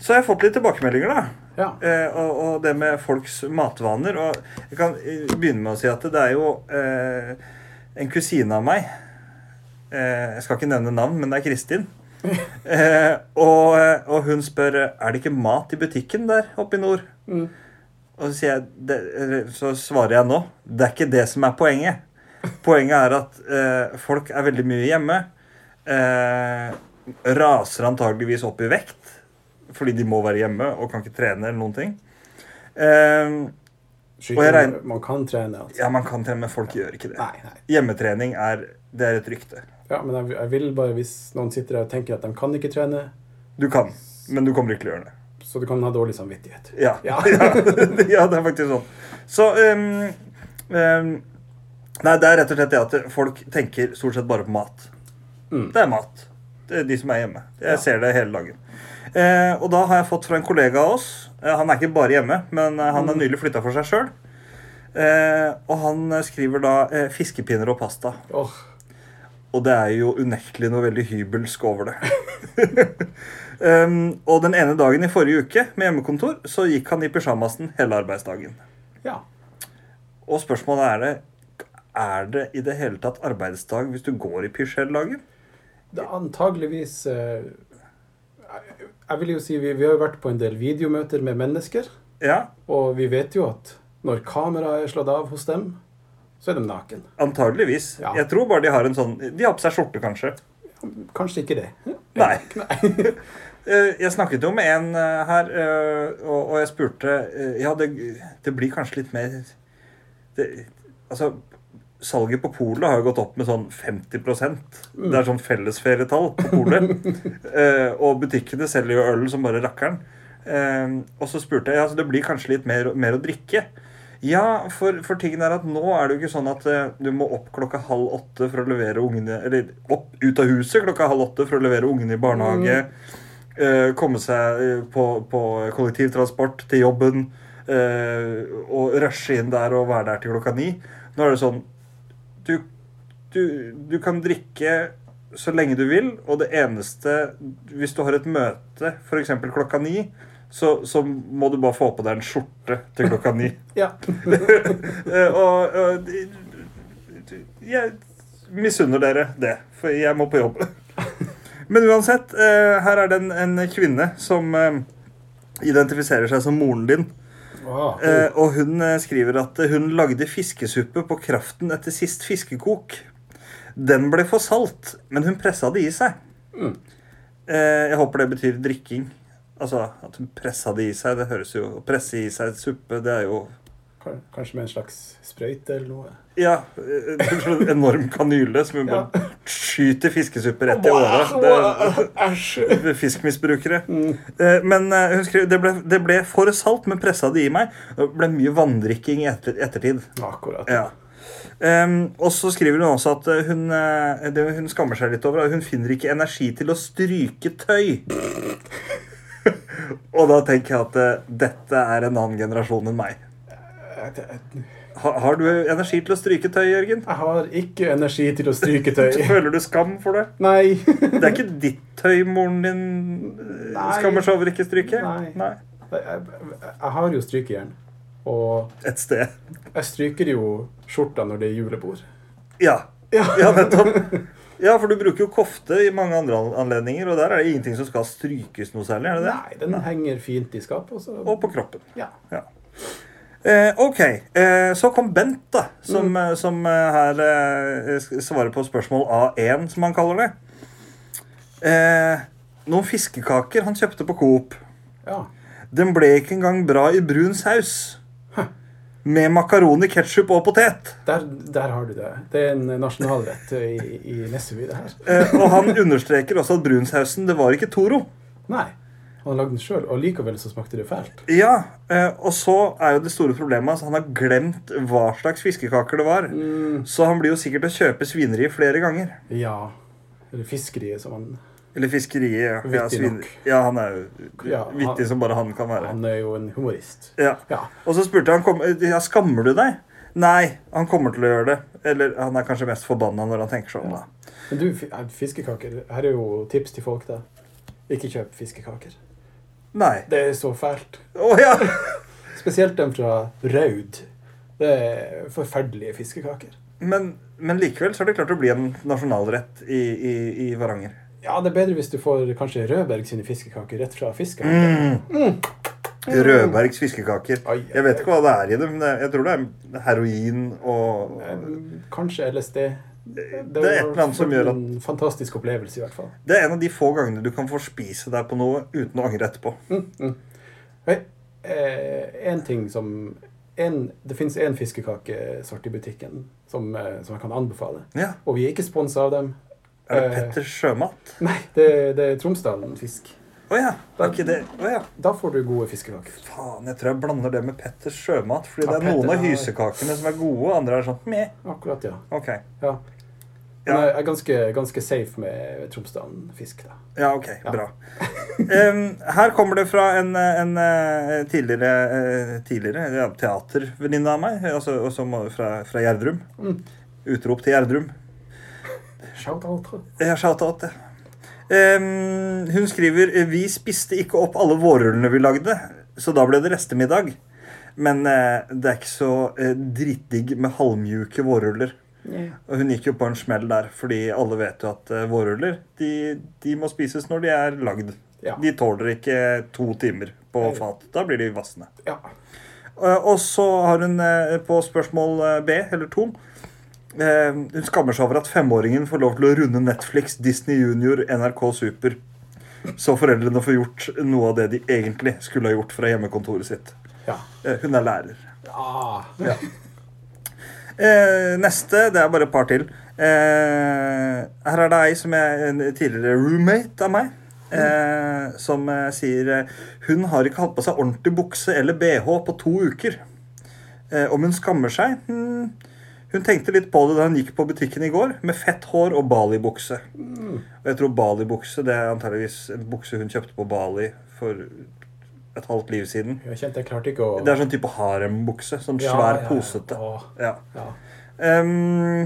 [SPEAKER 1] Så jeg har fått litt tilbakemeldinger, da.
[SPEAKER 2] Ja.
[SPEAKER 1] Eh, og, og det med folks matvaner. Og jeg kan eh, begynne med å si at det er jo eh, en kusine av meg eh, Jeg skal ikke nevne navn, men det er Kristin. Eh, og, eh, og hun spør eh, er det ikke mat i butikken der oppe i nord.
[SPEAKER 2] Mm.
[SPEAKER 1] Og så, sier jeg, det, eller så svarer jeg nå. Det er ikke det som er poenget. Poenget er at eh, folk er veldig mye hjemme. Eh, raser antageligvis opp i vekt fordi de må være hjemme og kan ikke trene eller noen ting. Eh,
[SPEAKER 2] Skyting,
[SPEAKER 1] Og jeg regner-
[SPEAKER 2] Man kan trene. Altså.
[SPEAKER 1] ja, man kan trene, men folk gjør ikke det.
[SPEAKER 2] Nei, nei.
[SPEAKER 1] Hjemmetrening er, det er et rykte.
[SPEAKER 2] Ja, men jeg, jeg vil bare, hvis noen sitter der og tenker at de kan ikke trene,
[SPEAKER 1] Du kan, men du kommer ikke til å gjøre det.
[SPEAKER 2] så du kan ha dårlig samvittighet.
[SPEAKER 1] Ja.
[SPEAKER 2] Ja.
[SPEAKER 1] ja, det er faktisk sånn. Så ehm, ehm, Nei, det er rett og slett det at folk tenker stort sett bare på mat.
[SPEAKER 2] Mm.
[SPEAKER 1] Det er mat. Det er de som er hjemme. Jeg
[SPEAKER 2] Ja.
[SPEAKER 1] ser det hele dagen. Eh, og da har jeg fått fra en kollega av oss eh, Han er ikke bare hjemme, men eh,
[SPEAKER 2] Mm.
[SPEAKER 1] han har nylig flytta for seg sjøl. Eh, og han eh, skriver da eh, 'fiskepinner og pasta'.
[SPEAKER 2] Åh,
[SPEAKER 1] Og det er jo unektelig noe veldig hybelsk over det. Um, og den ene dagen i forrige uke med hjemmekontor, så gikk han i pysjamasen hele arbeidsdagen.
[SPEAKER 2] Ja.
[SPEAKER 1] Og spørsmålet er det Er det i det hele tatt arbeidsdag hvis du går i pysj hele dagen?
[SPEAKER 2] Det er antageligvis eh, Jeg jeg vil jo si vi, vi har jo vært på en del videomøter med mennesker,
[SPEAKER 1] Ja,
[SPEAKER 2] og vi vet jo at når kameraet er slått av hos dem, så er de naken.
[SPEAKER 1] antageligvis.
[SPEAKER 2] Ja.
[SPEAKER 1] Jeg tror bare de har en sånn De har på seg skjorte, kanskje.
[SPEAKER 2] Kanskje ikke det.
[SPEAKER 1] Nei.
[SPEAKER 2] Nei.
[SPEAKER 1] Eh, Jeg snakket jo med en eh, her, eh, og og jeg spurte eh, Ja, det, det blir kanskje litt mer det, Altså, salget på polet har jo gått opp med sånn 50 Det er sånn fellesferietall på polet. Eh, og butikkene selger jo øl som bare rakkeren. Eh, og så spurte jeg ja, så det blir kanskje litt mer, mer å drikke. Ja, for, for tingen er at nå er det jo ikke sånn at eh, du må opp klokka halv åtte for å levere ungene Eller opp ut av huset klokka halv åtte for å levere ungene i barnehage. eh, komme seg eh, på, på kollektivtransport til jobben. eh, og rushe inn der og være der til klokka ni. Nå er det sånn du, du, du kan drikke så lenge du vil, og det eneste Hvis du har et møte f.eks. klokka ni, så, så må du bare få på deg en skjorte til klokka ni.
[SPEAKER 2] Ja.
[SPEAKER 1] Eh, og og de- de- jeg misunner dere det, for jeg må på jobb. Men uansett, eh, her er det en, en kvinne som eh, identifiserer seg som moren din.
[SPEAKER 2] Wow.
[SPEAKER 1] Eh, og hun eh, skriver at eh, hun lagde fiskesuppe på kraften etter sist fiskekok. Den ble for salt, men hun pressa det i seg.
[SPEAKER 2] Mm.
[SPEAKER 1] Eh, jeg håper det betyr drikking. Altså at hun pressa det i seg. Det høres jo Å presse i seg suppe, det er jo
[SPEAKER 2] Kan- Kanskje med en slags sprøyte eller noe.
[SPEAKER 1] Ja. eh, En sånn enorm kanyle som hun
[SPEAKER 2] Ja.
[SPEAKER 1] bare skyter fiskesuppe rett i året. Det,
[SPEAKER 2] Æsj.
[SPEAKER 1] fiskmisbrukere.
[SPEAKER 2] Mm.
[SPEAKER 1] Eh, Men eh, hun skriver det ble, det ble for salt, men pressa det i meg. Det ble mye vanndrikking i etter, ettertid.
[SPEAKER 2] Akkurat.
[SPEAKER 1] Ja. Ehm, og så skriver hun også at eh, hun, eh, det hun skammer seg litt over at hun finner ikke energi til å stryke tøy. og da tenker jeg at eh, dette er en annen generasjon enn meg.
[SPEAKER 2] Jeg- jeg-
[SPEAKER 1] Ha, har du energi til å stryke tøy, Jørgen?
[SPEAKER 2] Jeg har ikke energi til å stryke tøy.
[SPEAKER 1] Føler du skam for det?
[SPEAKER 2] Nei.
[SPEAKER 1] Det er ikke ditt tøy moren din eh,
[SPEAKER 2] Nei.
[SPEAKER 1] skammer seg over ikke stryke?
[SPEAKER 2] Nei. Jeg, jeg, jeg har jo strykejern. Og
[SPEAKER 1] Et sted.
[SPEAKER 2] jeg stryker jo skjorta når det er julebord.
[SPEAKER 1] Ja.
[SPEAKER 2] Ja.
[SPEAKER 1] ja, nettopp. Ja, for du bruker jo kofte i mange andre anledninger, og der er det ingenting som skal strykes noe særlig. er det det?
[SPEAKER 2] Nei, den henger fint i skapet. Og så
[SPEAKER 1] Og på kroppen.
[SPEAKER 2] Ja.
[SPEAKER 1] Ja. Eh, ok, eh, så kom Bent, da, som, eh, som eh, her eh, s- svarer på spørsmål A1, som han kaller det. Eh, noen fiskekaker han kjøpte på Coop.
[SPEAKER 2] ja.
[SPEAKER 1] Den ble ikke engang bra i brun saus. Med makaroni, ketsjup og potet.
[SPEAKER 2] Der, der har du det. Det er en nasjonalrett i, i Nesseby, det her.
[SPEAKER 1] Eh, og han understreker også at brunsausen, det var ikke Toro.
[SPEAKER 2] Nei. Han har lagd den sjøl, og likevel så smakte det fælt.
[SPEAKER 1] Ja, eh, og så er jo det store problemet hans. Han har glemt hva slags fiskekaker det
[SPEAKER 2] Mm.
[SPEAKER 1] var. Så han blir jo sikkert å kjøpe svineri flere ganger.
[SPEAKER 2] Ja. Eller fiskeriet, som han
[SPEAKER 1] Eller fiskeriet. Ja, ja,
[SPEAKER 2] Vittig
[SPEAKER 1] svin-
[SPEAKER 2] nok.
[SPEAKER 1] ja han er jo
[SPEAKER 2] Ja, han-
[SPEAKER 1] vittig som bare han kan være.
[SPEAKER 2] Han er jo en humorist.
[SPEAKER 1] Ja.
[SPEAKER 2] Ja.
[SPEAKER 1] Og så spurte han kom, ja, skammer du deg. Nei, han kommer til å gjøre det. Eller han er kanskje mest forbanna når han tenker seg om. da.
[SPEAKER 2] Men du, fi- eh, fiskekaker. Her er jo tips til folk, da. Ikke kjøp fiskekaker.
[SPEAKER 1] Nei.
[SPEAKER 2] Det er så fælt.
[SPEAKER 1] Å ja!
[SPEAKER 2] Spesielt den fra Raud. Det er forferdelige fiskekaker.
[SPEAKER 1] Men, men likevel så har det klart å bli en nasjonalrett i, i, i Varanger.
[SPEAKER 2] Ja, det er bedre hvis du får kanskje Rødberg sine fiskekaker rett fra fisken.
[SPEAKER 1] Mm. Rødbergs fiskekaker.
[SPEAKER 2] Ai, ai,
[SPEAKER 1] Jeg vet ikke hva det er i dem. men det- Jeg tror det er heroin og
[SPEAKER 2] Eh, Kanskje LSD. Det,
[SPEAKER 1] Det er et eller annet som gjør at-
[SPEAKER 2] En fantastisk opplevelse, i hvert fall.
[SPEAKER 1] Det er en av de få gangene du kan forspise deg på noe uten å angre etterpå.
[SPEAKER 2] Hei, eh, en ting som en, Det finnes én fiskekakesort i butikken som, eh, som jeg kan anbefale.
[SPEAKER 1] Ja.
[SPEAKER 2] Og vi er ikke sponsa av dem.
[SPEAKER 1] Er det
[SPEAKER 2] Eh,
[SPEAKER 1] Petter Sjømat?
[SPEAKER 2] Nei, det, det er Tromsdalen Fisk.
[SPEAKER 1] Å ja. Er ikke det Å ja.
[SPEAKER 2] Da får du gode fiskekaker.
[SPEAKER 1] Faen, jeg tror jeg blander det med Petter Sjømat. Fordi
[SPEAKER 2] Ja,
[SPEAKER 1] det er noen
[SPEAKER 2] Petter
[SPEAKER 1] av
[SPEAKER 2] har-
[SPEAKER 1] hysekakene som er gode, og andre er sånn meh.
[SPEAKER 2] Akkurat, ja.
[SPEAKER 1] Ok.
[SPEAKER 2] ja. Men
[SPEAKER 1] Ja.
[SPEAKER 2] jeg er ganske, ganske safe med Tromsdalen Fisk, da.
[SPEAKER 1] Ja, ok. Bra. Em, her kommer det fra en, en eh, tidligere, eh, tidligere ja, teatervenninne av meg, altså, og som var fra, fra Gjerdrum.
[SPEAKER 2] Mm.
[SPEAKER 1] Utrop til Gjerdrum.
[SPEAKER 2] Shout out.
[SPEAKER 1] Jeg har shout-out, ja. Ehm, hun skriver Vi spiste ikke opp alle vårrullene vi lagde, så da ble det restemiddag. Men eh, det er ikke så eh, drittdigg med halvmjuke vårruller.
[SPEAKER 3] Ja.
[SPEAKER 1] Og hun gikk jo på en smell der, fordi alle vet jo at eh, vårruller de, de må spises når de er lagd.
[SPEAKER 2] Ja.
[SPEAKER 1] De tåler ikke to timer på
[SPEAKER 2] Nei.
[SPEAKER 1] fat. Da blir de vassende.
[SPEAKER 2] Ja.
[SPEAKER 1] Eh, Og så har hun eh, på spørsmål eh, B, eller to eh, Hun skammer seg over at femåringen får lov til å runde Netflix, Disney Junior, NRK Super. Så foreldrene får gjort noe av det de egentlig skulle ha gjort fra hjemmekontoret sitt.
[SPEAKER 2] ja.
[SPEAKER 1] Eh, Hun er lærer.
[SPEAKER 2] Ah.
[SPEAKER 1] Eh, neste, det er bare et par til. Eh, her er det ei som er en tidligere roommate av meg. Eh, som eh, sier eh, hun har ikke hatt på seg ordentlig bukse eller bh på to uker. Eh, om hun skammer seg? Hm, hun tenkte litt på det da hun gikk på butikken i går med fett hår og balibukse. Og jeg tror balibukse det er antageligvis en bukse hun kjøpte på Bali for et halvt liv siden.
[SPEAKER 2] Jeg kjente jeg klarte ikke å
[SPEAKER 1] Det er sånn type harembukse. Sånn
[SPEAKER 2] Ja,
[SPEAKER 1] svær,
[SPEAKER 2] ja, ja.
[SPEAKER 1] posete.
[SPEAKER 2] Åh.
[SPEAKER 1] Ja.
[SPEAKER 2] ja.
[SPEAKER 1] Ehm,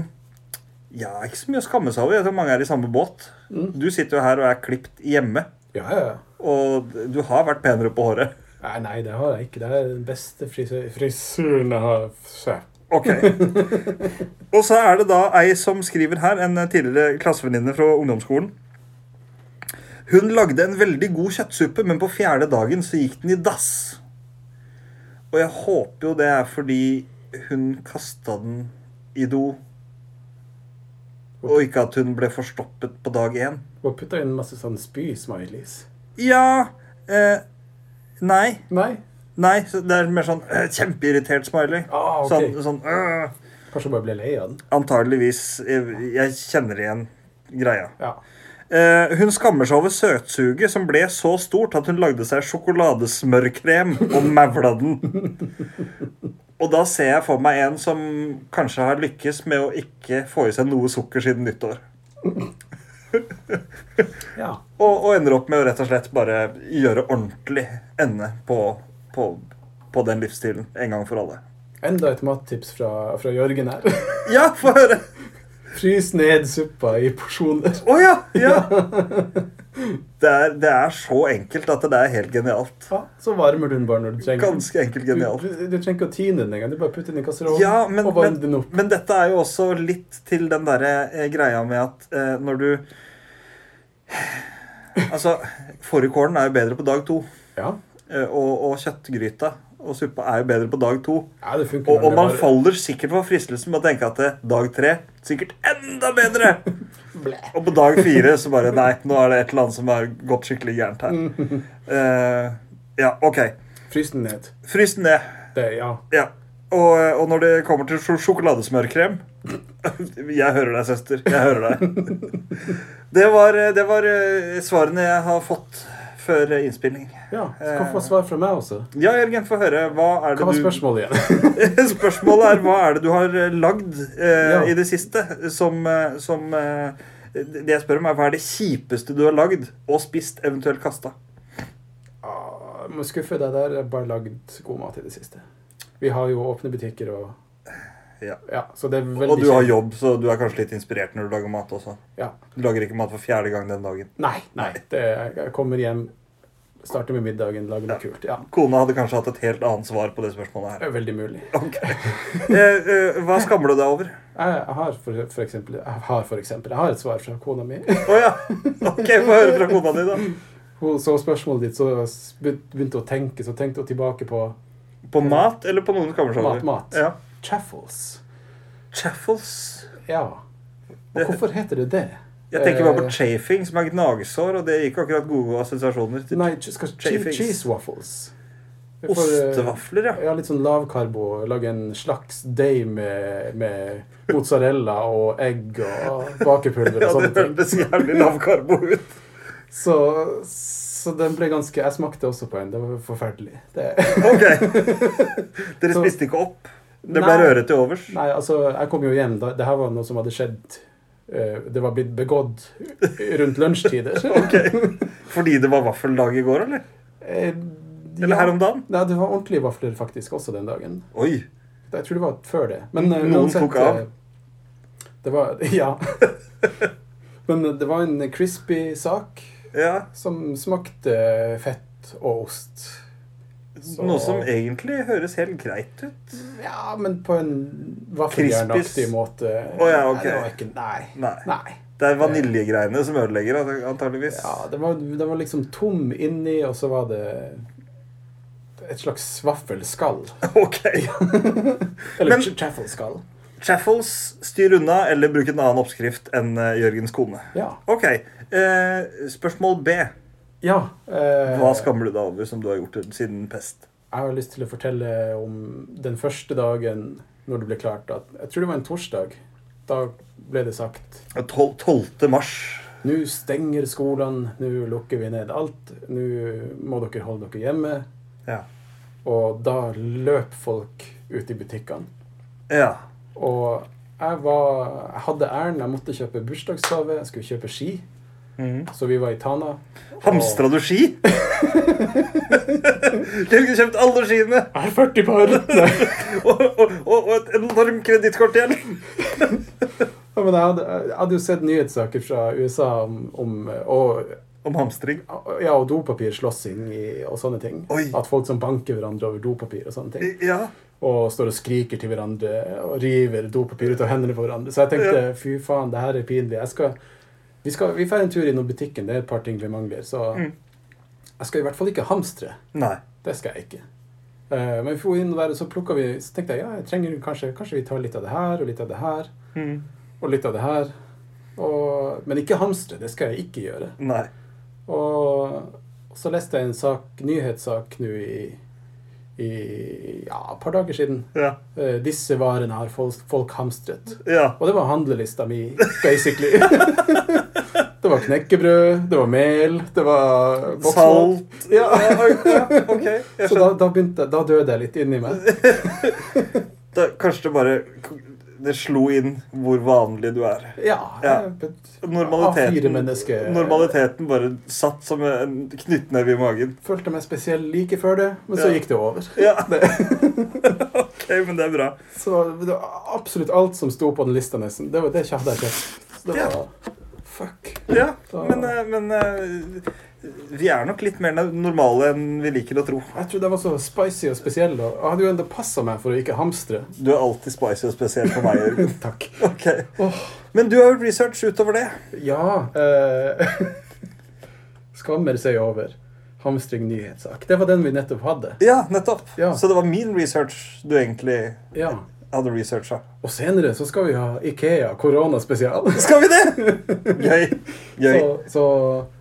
[SPEAKER 1] ja, ikke så mye å skamme seg over. Jeg tror mange er i samme båt. Du sitter jo her og er klipt hjemme.
[SPEAKER 2] ja, ja, ja.
[SPEAKER 1] Og du har vært penere på håret.
[SPEAKER 2] Nei, nei, det har jeg ikke. Det er den beste frisø frisyren jeg har sett.
[SPEAKER 1] Ok. og så er det da ei som skriver her, en tidligere klassevenninne fra ungdomsskolen. Hun lagde en veldig god kjøttsuppe, men på fjerde dagen så gikk den i dass. Og jeg håper jo det er fordi hun kasta den i do. Og ikke at hun ble forstoppet på dag én.
[SPEAKER 2] Og putta inn masse sånn spy-smileys.
[SPEAKER 1] Ja eh, Nei.
[SPEAKER 2] Nei?
[SPEAKER 1] Nei, så det er mer sånn øh, kjempeirritert smiley.
[SPEAKER 2] Ah, ok.
[SPEAKER 1] Sånn, sånn øh.
[SPEAKER 2] Kanskje jeg bare ble lei av den.
[SPEAKER 1] Antageligvis. Jeg, jeg kjenner igjen greia.
[SPEAKER 2] Ja.
[SPEAKER 1] Eh, hun skammer seg over søtsuget som ble så stort at hun lagde seg sjokoladesmørkrem og mævla den. Og da ser jeg for meg en som kanskje har lykkes med å ikke få i seg noe sukker siden nyttår.
[SPEAKER 2] ja.
[SPEAKER 1] Og, og ender opp med å rett og slett bare gjøre ordentlig ende på, på, på den livsstilen en gang for alle.
[SPEAKER 2] Enda et mattips fra, fra Jørgen her.
[SPEAKER 1] Ja, få høre!
[SPEAKER 2] Frys ned suppa i porsjoner.
[SPEAKER 1] Å ja! ja. Det, er, det er så enkelt at det er helt genialt.
[SPEAKER 2] Ja, så varmer du den bare når du trenger den.
[SPEAKER 1] Ganske enkelt genialt.
[SPEAKER 2] Du, du, du trenger ikke å tine den engang. Du bare putter den i kasserollen
[SPEAKER 1] Ja, men,
[SPEAKER 2] og varmer den
[SPEAKER 1] men,
[SPEAKER 2] opp.
[SPEAKER 1] men dette er jo også litt til den der eh, greia med at eh, når du Altså, fårikålen er jo bedre på dag to.
[SPEAKER 2] Ja,
[SPEAKER 1] eh, og, og kjøttgryta og suppa er jo bedre på dag to.
[SPEAKER 2] ja det funker.
[SPEAKER 1] Og, og
[SPEAKER 2] veldig
[SPEAKER 1] man
[SPEAKER 2] bare.
[SPEAKER 1] faller sikkert for fristelsen med å tenke at det, dag tre sikkert enda bedre. Og på dag fire så bare Nei, nå er det et eller annet som har gått skikkelig gærent her. Eh, ja, OK.
[SPEAKER 2] Frys den ned.
[SPEAKER 1] Frys den ned.
[SPEAKER 2] Det, ja.
[SPEAKER 1] Ja. Og, og når det kommer til sj sjokoladesmørkrem Jeg hører deg, søster. Jeg hører deg. Det var, det var eh, svarene jeg har fått før eh, innspilling.
[SPEAKER 2] ja. Så kan du få svar fra meg også.
[SPEAKER 1] Ja, Jørgen, få høre. Hva er det
[SPEAKER 2] Hva var
[SPEAKER 1] Eh. du
[SPEAKER 2] spørsmålet igjen?
[SPEAKER 1] Spørsmålet er hva er det du har eh, lagd eh,
[SPEAKER 2] Ja.
[SPEAKER 1] i det siste som, eh, som eh, Det jeg spør om, er hva er det kjipeste du har lagd og spist, eventuelt kasta?
[SPEAKER 2] Ah, Jeg må skuffe deg der. Jeg har bare lagd god mat i det siste. Vi har jo åpne butikker og
[SPEAKER 1] Ja.
[SPEAKER 2] så det er veldig
[SPEAKER 1] Og du har
[SPEAKER 2] kjedelig.
[SPEAKER 1] jobb, så du er kanskje litt inspirert når du lager mat også.
[SPEAKER 2] Ja.
[SPEAKER 1] Du lager ikke mat for fjerde gang den dagen.
[SPEAKER 2] Nei, nei. Det, jeg kommer hjem, starter med middagen, lager noe
[SPEAKER 1] Ja.
[SPEAKER 2] kult. Ja.
[SPEAKER 1] Kona hadde kanskje hatt et helt annet svar på det spørsmålet her.
[SPEAKER 2] Det er veldig mulig.
[SPEAKER 1] Ok. Eh, eh, hva skammer du deg over?
[SPEAKER 2] Jeg, jeg har for, for eksempel Jeg har for eksempel Jeg har et svar fra kona mi.
[SPEAKER 1] Å ja. Ok, få høre fra kona di, da.
[SPEAKER 2] Hun så spørsmålet ditt, så s- begynte hun å tenke, så tenkte hun tilbake på
[SPEAKER 1] På mat eller på noen skammer seg over?
[SPEAKER 2] Mat, mat.
[SPEAKER 1] Ja.
[SPEAKER 2] chaffles.
[SPEAKER 1] Chaffles.
[SPEAKER 2] Ja. Og hvorfor heter det det?
[SPEAKER 1] Jeg tenker bare
[SPEAKER 2] Eh,
[SPEAKER 1] på chafing, som er gnagsår, og det gikk akkurat gode assosiasjoner. til
[SPEAKER 2] Nei, ch- skal che
[SPEAKER 1] Chafings.
[SPEAKER 2] cheese waffles. Det er for, eh,
[SPEAKER 1] Ostevafler, ja.
[SPEAKER 2] Ja, litt sånn lavkarbo. Lage en slags deig med, med mozzarella og egg og bakepulver
[SPEAKER 1] Ja,
[SPEAKER 2] og
[SPEAKER 1] det
[SPEAKER 2] sånne ting.
[SPEAKER 1] hørtes jævlig lavkarbo ut.
[SPEAKER 2] Så, så den ble ganske Jeg smakte også på en. Det var forferdelig. Det,
[SPEAKER 1] Ok. Dere
[SPEAKER 2] Så-
[SPEAKER 1] spiste ikke opp? Det ble
[SPEAKER 2] Nei.
[SPEAKER 1] røre til overs?
[SPEAKER 2] Nei, altså, jeg kom jo hjem. Da, det her var noe som hadde skjedd eh, Det var blitt begått rundt lunsjtider.
[SPEAKER 1] Ok. Fordi det var vaffeldag i går, eller?
[SPEAKER 2] Eh,
[SPEAKER 1] Eller her om dagen?
[SPEAKER 2] Nei, det var ordentlige vafler faktisk også den dagen.
[SPEAKER 1] Oi.
[SPEAKER 2] Jeg tror det
[SPEAKER 1] Mm,
[SPEAKER 2] var før det. Men eh,
[SPEAKER 1] Noen tok av.
[SPEAKER 2] eh, Det var Ja. Men det var en crispy sak
[SPEAKER 1] Ja.
[SPEAKER 2] som smakte fett og ost. Så-
[SPEAKER 1] Noe som egentlig høres helt greit ut.
[SPEAKER 2] Ja, men på en vaffeljernaktig
[SPEAKER 1] Crispies.
[SPEAKER 2] måte.
[SPEAKER 1] Å ja, ok.
[SPEAKER 2] Nei, det var ikke, nei.
[SPEAKER 1] Nei.
[SPEAKER 2] nei.
[SPEAKER 1] Det er vaniljegreiene som ødelegger, ant- antageligvis.
[SPEAKER 2] Ja, det var, det var liksom tom inni, og så var det et slags vaffelskall.
[SPEAKER 1] Ok.
[SPEAKER 2] Eller
[SPEAKER 1] Men-
[SPEAKER 2] ch- chaffelskall.
[SPEAKER 1] Chaffles, styr unna, eller bruk en annen oppskrift enn eh, Jørgens kone.
[SPEAKER 2] Ja.
[SPEAKER 1] Ok. Eh, spørsmål B.
[SPEAKER 2] ja eh,
[SPEAKER 1] Hva skammer du deg over som du har gjort siden pest?
[SPEAKER 2] Jeg har lyst til å fortelle om den første dagen når det ble klart at Jeg tror det var en torsdag. Da ble det sagt
[SPEAKER 1] Tol- 12. mars.
[SPEAKER 2] Nå stenger skolene, nå lukker vi ned alt. Nå må dere holde dere hjemme.
[SPEAKER 1] Ja.
[SPEAKER 2] Og da løp folk ut i butikkene.
[SPEAKER 1] ja.
[SPEAKER 2] Og jeg, var, jeg hadde ærend. Jeg måtte kjøpe bursdagsgave. Jeg skulle kjøpe ski.
[SPEAKER 1] Mhm.
[SPEAKER 2] Så vi var i Tana.
[SPEAKER 1] Hamstra du ski? Jørgen kjøpte alle skiene!
[SPEAKER 2] Jeg har 40 par! Nei.
[SPEAKER 1] Og, og, og og et enormt kredittkort igjen.
[SPEAKER 2] Ja, Men jeg hadde, jeg hadde jo sett nyhetssaker fra USA om, om og,
[SPEAKER 1] Om hamstring.
[SPEAKER 2] ja, og dopapirslåssing i- og sånne ting.
[SPEAKER 1] Oi.
[SPEAKER 2] At folk som banker hverandre over dopapir og sånne ting.
[SPEAKER 1] Ja.
[SPEAKER 2] Og står og skriker til hverandre og river dopapir ut av hendene på hverandre. Så jeg tenkte fy faen, det her er pinlig. Jeg skal, vi skal, vi drar en tur innom butikken, det er et par ting vi mangler. Så jeg skal i hvert fall ikke hamstre.
[SPEAKER 1] Nei.
[SPEAKER 2] Det skal jeg ikke. Eh, Men vi for inn der, og så plukket vi Så tenkte jeg ja, jeg trenger kanskje, kanskje vi tar litt av det her og litt av det her
[SPEAKER 1] Mhm.
[SPEAKER 2] og litt av det her. Og, men ikke hamstre. Det skal jeg ikke gjøre.
[SPEAKER 1] Nei.
[SPEAKER 2] Og så leste jeg en sak, nyhetssak nå i, i ja, et par dager siden.
[SPEAKER 1] Ja.
[SPEAKER 2] Eh, disse varene har folk, folk hamstret.
[SPEAKER 1] Ja.
[SPEAKER 2] Og det var handlelista mi, basically. det var knekkebrød, det var mel, det var boksmat.
[SPEAKER 1] Salt.
[SPEAKER 2] Ja.
[SPEAKER 1] Ja, ok. Jeg
[SPEAKER 2] Så da,
[SPEAKER 1] skjønner.
[SPEAKER 2] da, begynte, jeg- da døde jeg litt inni meg.
[SPEAKER 1] Da, kanskje det bare Det slo inn hvor vanlig du er.
[SPEAKER 2] Ja.
[SPEAKER 1] Ja.
[SPEAKER 2] jeg- A4
[SPEAKER 1] Normaliteten,
[SPEAKER 2] menneske.
[SPEAKER 1] normaliteten bare satt som en knyttneve i magen.
[SPEAKER 2] Følte meg spesiell like før det, men så
[SPEAKER 1] Ja.
[SPEAKER 2] gikk det over.
[SPEAKER 1] Ja,
[SPEAKER 2] Det.
[SPEAKER 1] ok, men det er bra.
[SPEAKER 2] Så det var absolutt alt som sto på den lista, nesten, det, var, det hadde jeg kjøpt. Så det var Fuck.
[SPEAKER 1] Ja,
[SPEAKER 2] Da-
[SPEAKER 1] men, eh, men eh, vi er nok litt mer normale enn vi liker å tro.
[SPEAKER 2] Jeg trodde jeg var så spicy og spesiell. da. Jeg hadde jo enda passa meg for å ikke hamstre.
[SPEAKER 1] Du er alltid spicy og spesiell for meg, Jørgen.
[SPEAKER 2] Takk.
[SPEAKER 1] Ok. Men du har gjort research utover det.
[SPEAKER 2] Ja eh, Skammer seg over hamstring nyhetssak. Det var den vi nettopp hadde.
[SPEAKER 1] Ja, nettopp.
[SPEAKER 2] Ja.
[SPEAKER 1] Så det var min research du egentlig
[SPEAKER 2] Ja.
[SPEAKER 1] hadde researcha.
[SPEAKER 2] Og senere så skal vi ha Ikea koronaspesial.
[SPEAKER 1] Skal vi det?! Gøy. Gøy.
[SPEAKER 2] Så, så,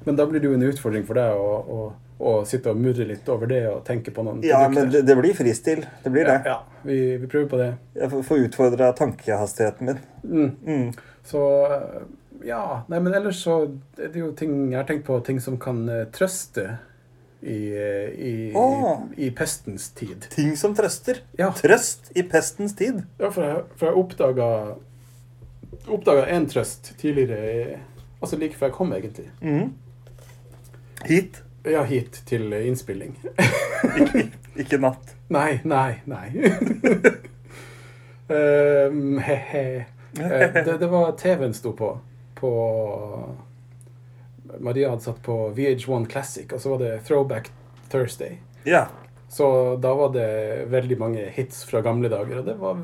[SPEAKER 2] men da blir det jo en utfordring for deg å, å, å sitte og murre litt over det og tenke på noen
[SPEAKER 1] Ja, men det, det blir fristil. Det blir det.
[SPEAKER 2] ja, vi, vi prøver på det.
[SPEAKER 1] Jeg får- får utfordra tankehastigheten min. Mm.
[SPEAKER 2] Så eh, ja. Nei, men ellers så er det jo ting Jeg har tenkt på ting som kan eh, trøste i, eh, i,
[SPEAKER 1] Åh.
[SPEAKER 2] i, i pestens tid.
[SPEAKER 1] Ting som trøster.
[SPEAKER 2] Ja,
[SPEAKER 1] Trøst i pestens tid.
[SPEAKER 2] ja for jeg, for jeg oppdaga Oppdaga én trøst tidligere, i- altså like før jeg kom, egentlig.
[SPEAKER 1] Mhm. Hit,
[SPEAKER 2] Ja, hit til innspilling.
[SPEAKER 1] ikke natt.
[SPEAKER 2] Nei, nei, nei. um, he-he. Eh, Det, det var TV-en sto på. På Maria hadde satt på VH1 Classic, og så var det Throwback Thursday.
[SPEAKER 1] Ja.
[SPEAKER 2] Så da var det veldig mange hits fra gamle dager, og det var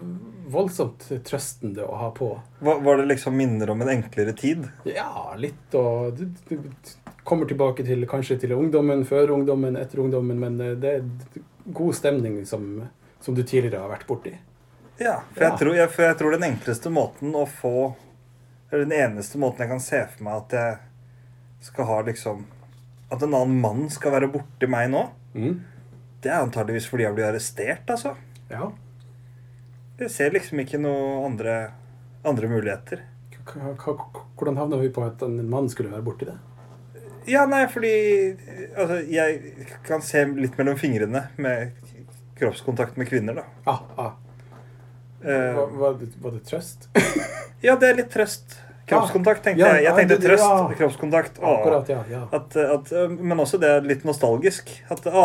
[SPEAKER 2] voldsomt trøstende å ha på.
[SPEAKER 1] Var, var det liksom minner om en enklere tid?
[SPEAKER 2] Ja, litt og du, du, du kommer tilbake til kanskje til ungdommen, før ungdommen, etter ungdommen, men eh, det er god stemning som, som du tidligere har vært borti.
[SPEAKER 1] Ja. For,
[SPEAKER 2] Ja.
[SPEAKER 1] Jeg tror, jeg, for jeg tror den enkleste måten å få Eller den eneste måten jeg kan se for meg at jeg skal ha liksom At en annen mann skal være borti meg nå,
[SPEAKER 2] Mm.
[SPEAKER 1] det er antageligvis fordi jeg blir arrestert, altså.
[SPEAKER 2] Ja.
[SPEAKER 1] Jeg ser liksom ikke noe andre, andre muligheter.
[SPEAKER 2] K- k- k- Hvordan havna vi på at en mann skulle være borti det?
[SPEAKER 1] Ja, nei, fordi altså, jeg kan se litt mellom fingrene med kroppskontakt med kvinner, da.
[SPEAKER 2] Ah, ah.
[SPEAKER 1] Eh,
[SPEAKER 2] Var, var, det, var det trøst?
[SPEAKER 1] ja, det er litt trøst. Kroppskontakt, tenkte
[SPEAKER 2] Ja,
[SPEAKER 1] jeg. Jeg
[SPEAKER 2] Ah, ja,
[SPEAKER 1] tenkte
[SPEAKER 2] det-
[SPEAKER 1] trøst,
[SPEAKER 2] ja.
[SPEAKER 1] kroppskontakt. Å,
[SPEAKER 2] Akkurat, ja. ja.
[SPEAKER 1] at, at, men også det er litt nostalgisk. At å,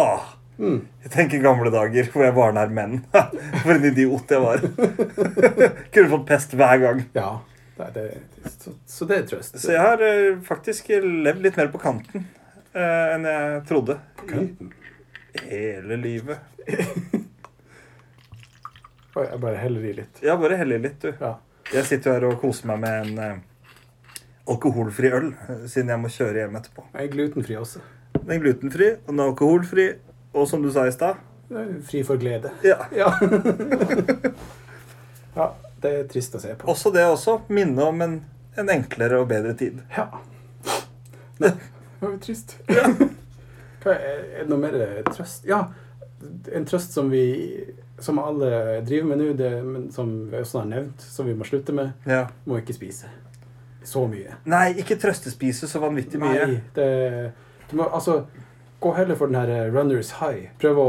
[SPEAKER 2] Mm.
[SPEAKER 1] jeg tenker gamle dager hvor jeg var nær menn. For en idiot jeg var. Kunne fått pest hver gang.
[SPEAKER 2] ja. Nei, det, det, så, så det er trøst.
[SPEAKER 1] Så jeg har eh, faktisk levd litt mer på kanten eh, enn jeg trodde.
[SPEAKER 2] Kanten.
[SPEAKER 1] I hele livet.
[SPEAKER 2] Oi, jeg bare heller i litt.
[SPEAKER 1] Jeg bare heller litt, du.
[SPEAKER 2] Ja.
[SPEAKER 1] Jeg sitter jo her og koser meg med en eh, alkoholfri øl, eh, siden jeg må kjøre hjem etterpå.
[SPEAKER 2] Jeg er glutenfri også.
[SPEAKER 1] Den er glutenfri, og den er alkoholfri, og som du sa i stad
[SPEAKER 2] Jeg er Fri for glede.
[SPEAKER 1] ja.
[SPEAKER 2] Ja. ja. Det er trist å se på.
[SPEAKER 1] Også det også. Minne om en, en enklere og bedre tid.
[SPEAKER 2] Ja. Nei, det var jo trist. Hva er, er det noe mer eh, trøst? Ja, en trøst som vi som alle driver med nå, det, men som vi også har nevnt, som vi må slutte med,
[SPEAKER 1] Ja.
[SPEAKER 2] må ikke spise så mye.
[SPEAKER 1] Nei, ikke trøstespise så vanvittig mye.
[SPEAKER 2] Nei, det, du må altså gå heller for den her eh, runners high. Prøv å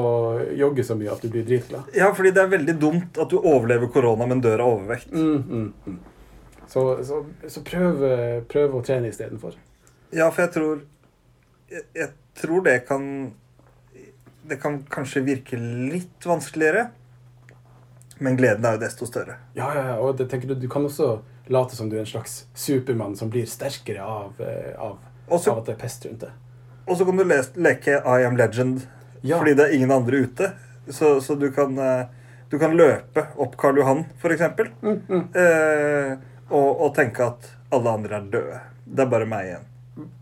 [SPEAKER 2] jogge så mye at du blir dritglad.
[SPEAKER 1] Ja, fordi det er veldig dumt at du overlever korona, men dør av overvekt.
[SPEAKER 2] Mm, mm, mm. Så, så, så prøv, eh, prøv å trene istedenfor.
[SPEAKER 1] Ja, for jeg tror Jeg, jeg tror det kan Det kan kanskje virke litt vanskeligere, men gleden er jo desto større.
[SPEAKER 2] Ja, ja, ja, og det tenker du, du kan også late som du er en slags supermann som blir sterkere av, eh, av,
[SPEAKER 1] Og så
[SPEAKER 2] av at det er pest rundt det.
[SPEAKER 1] og så kan du les, leke I am legend
[SPEAKER 2] Ja.
[SPEAKER 1] fordi det er ingen andre ute. Så, så du kan eh, Du kan løpe opp Karl Johan, for eksempel,
[SPEAKER 2] Mm, mm.
[SPEAKER 1] eh, og, og tenke at alle andre er døde. Det er bare meg igjen.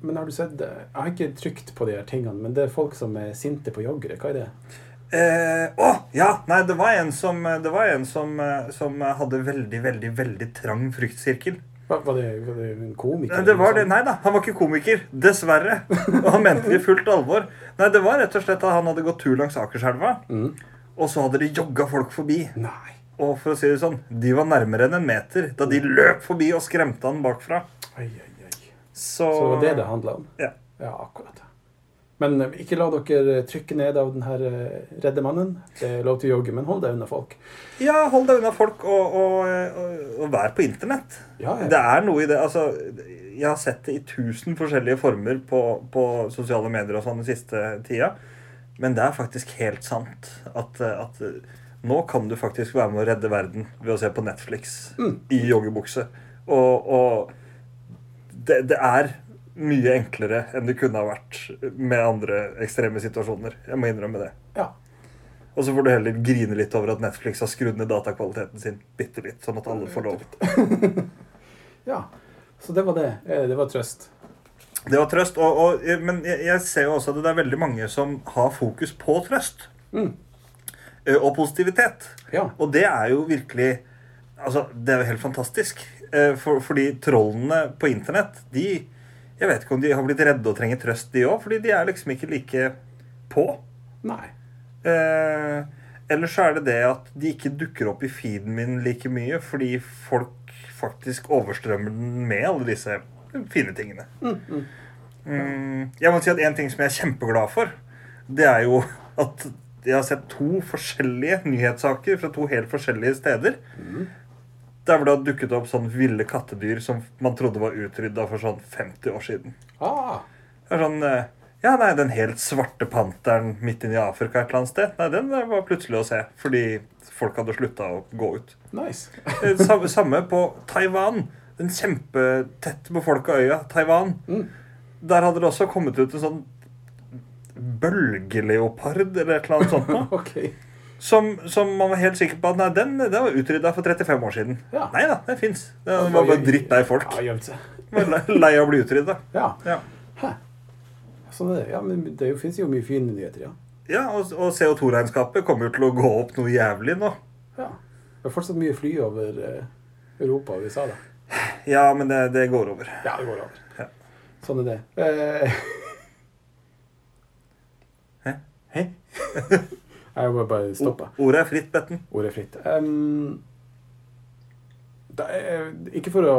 [SPEAKER 2] Men har du sett eh, Jeg har ikke trykt på de her tingene, men det er folk som er sinte på joggere. Hva er det?
[SPEAKER 1] Eh, å, ja! Nei, det var en, som, det var en som, eh, som hadde veldig, veldig veldig trang fryktsirkel.
[SPEAKER 2] Var, var, det, var det en komiker?
[SPEAKER 1] Nei, det
[SPEAKER 2] eller noe
[SPEAKER 1] var det.
[SPEAKER 2] sånt?
[SPEAKER 1] Nei da, han var ikke komiker. Dessverre. Og han mente det i fullt alvor. Nei, det var rett og slett at han hadde gått tur langs Akerselva,
[SPEAKER 2] Mm.
[SPEAKER 1] og så hadde det jogga folk forbi.
[SPEAKER 2] Nei.
[SPEAKER 1] Og for å si det sånn, de var nærmere enn en meter da de løp forbi og skremte han bakfra.
[SPEAKER 2] Ai, ai, ai.
[SPEAKER 1] Så,
[SPEAKER 2] Så det var det det handla om?
[SPEAKER 1] Ja.
[SPEAKER 2] ja, akkurat. Men eh, ikke la dere trykke ned av den her eh, redde mannen. Det er lov til å jogge, men hold deg unna folk.
[SPEAKER 1] Ja, hold deg unna folk, og, og, og, og vær på internett.
[SPEAKER 2] Ja, ja.
[SPEAKER 1] Det er noe i det. Altså, jeg har sett det i tusen forskjellige former på, på sosiale medier og sånn den siste tida. Men det er faktisk helt sant at, at nå kan du faktisk være med å redde verden ved å se på Netflix i joggebukse. Og, og det, det er mye enklere enn det kunne ha vært med andre ekstreme situasjoner. Jeg må innrømme det.
[SPEAKER 2] Ja.
[SPEAKER 1] Og så får du heller grine litt over at Netflix har skrudd ned datakvaliteten sin bitte litt, sånn at alle får lov.
[SPEAKER 2] ja. Så det var det. Eh, Det var trøst.
[SPEAKER 1] Det var trøst. Og, og, eh, men jeg, jeg ser jo også at det er veldig mange som har fokus på trøst
[SPEAKER 2] Mm.
[SPEAKER 1] eh, og positivitet.
[SPEAKER 2] Ja.
[SPEAKER 1] Og det er jo virkelig Altså, det er jo helt fantastisk. Eh, For, fordi trollene på internett, de Jeg vet ikke om de har blitt redde og trenger trøst, de òg, fordi de er liksom ikke like på.
[SPEAKER 2] Nei.
[SPEAKER 1] Eh, ellers så er det det at de ikke dukker opp i feeden min like mye, fordi folk faktisk overstrømmer den med alle disse fine tingene. Mm, jeg må si at en ting som jeg er kjempeglad for, det er jo at jeg har sett to forskjellige nyhetssaker fra to helt forskjellige steder. Der hvor det har dukket opp sånn ville kattedyr som man trodde var utrydda for sånn 50 år siden.
[SPEAKER 2] Ah,
[SPEAKER 1] Det er sånn eh, Ja, nei, den helt svarte panteren midt inne i Afrika et eller annet sted, nei, den eh, var plutselig å se. Fordi folk hadde slutta å gå ut.
[SPEAKER 2] nice.
[SPEAKER 1] Eh, Samme, samme på Taiwan. Den kjempetett befolka øya Taiwan.
[SPEAKER 2] Mm.
[SPEAKER 1] Der hadde det også kommet ut en sånn bølgeleopard eller et eller annet sånt. nå,
[SPEAKER 2] OK.
[SPEAKER 1] Som, som man var helt sikker på at nei, den, den var utrydda for 35 år siden.
[SPEAKER 2] Ja.
[SPEAKER 1] Nei da, den fins. Den var bare drittlei folk.
[SPEAKER 2] Ja, gjemte seg.
[SPEAKER 1] Var lei- Lei av å bli utrydda.
[SPEAKER 2] Ja.
[SPEAKER 1] Ja.
[SPEAKER 2] Hæ. Sånn er det. Ja, men det fins jo mye fine nyheter, ja.
[SPEAKER 1] Ja, og, og CO2-regnskapet kommer jo til å gå opp noe jævlig nå.
[SPEAKER 2] ja. Det er fortsatt mye fly over eh, Europa og USA, da.
[SPEAKER 1] Ja, men det, det går over.
[SPEAKER 2] Ja, det går over.
[SPEAKER 1] Ja.
[SPEAKER 2] Sånn er det. Eh,
[SPEAKER 1] Hæ?
[SPEAKER 2] Hæ? Jeg må bare stoppe.
[SPEAKER 1] Ordet er fritt, Betten.
[SPEAKER 2] Ordet er fritt. Em, det er, ikke for å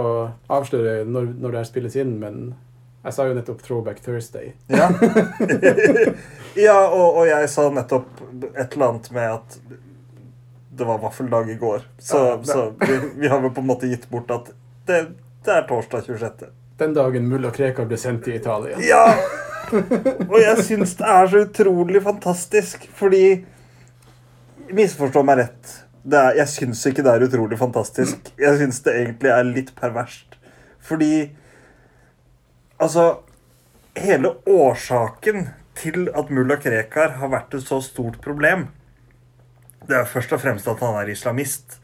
[SPEAKER 2] avsløre når, når det her spilles inn, men jeg sa jo nettopp Throwback Thursday.
[SPEAKER 1] Ja, ja og, og jeg sa nettopp et eller annet med at det var vaffeldag i går. Så,
[SPEAKER 2] Ja, det-
[SPEAKER 1] så vi, vi har vel på en måte gitt bort at det, det er torsdag 26.
[SPEAKER 2] Den dagen mulla Krekar ble sendt til Italia.
[SPEAKER 1] Ja! Og jeg syns det er så utrolig fantastisk, fordi Misforstå meg rett. det er, jeg syns ikke det er utrolig fantastisk. Jeg syns det egentlig er litt perverst. Fordi Altså, hele årsaken til at mulla Krekar har vært et så stort problem, det er først og fremst at han er islamist.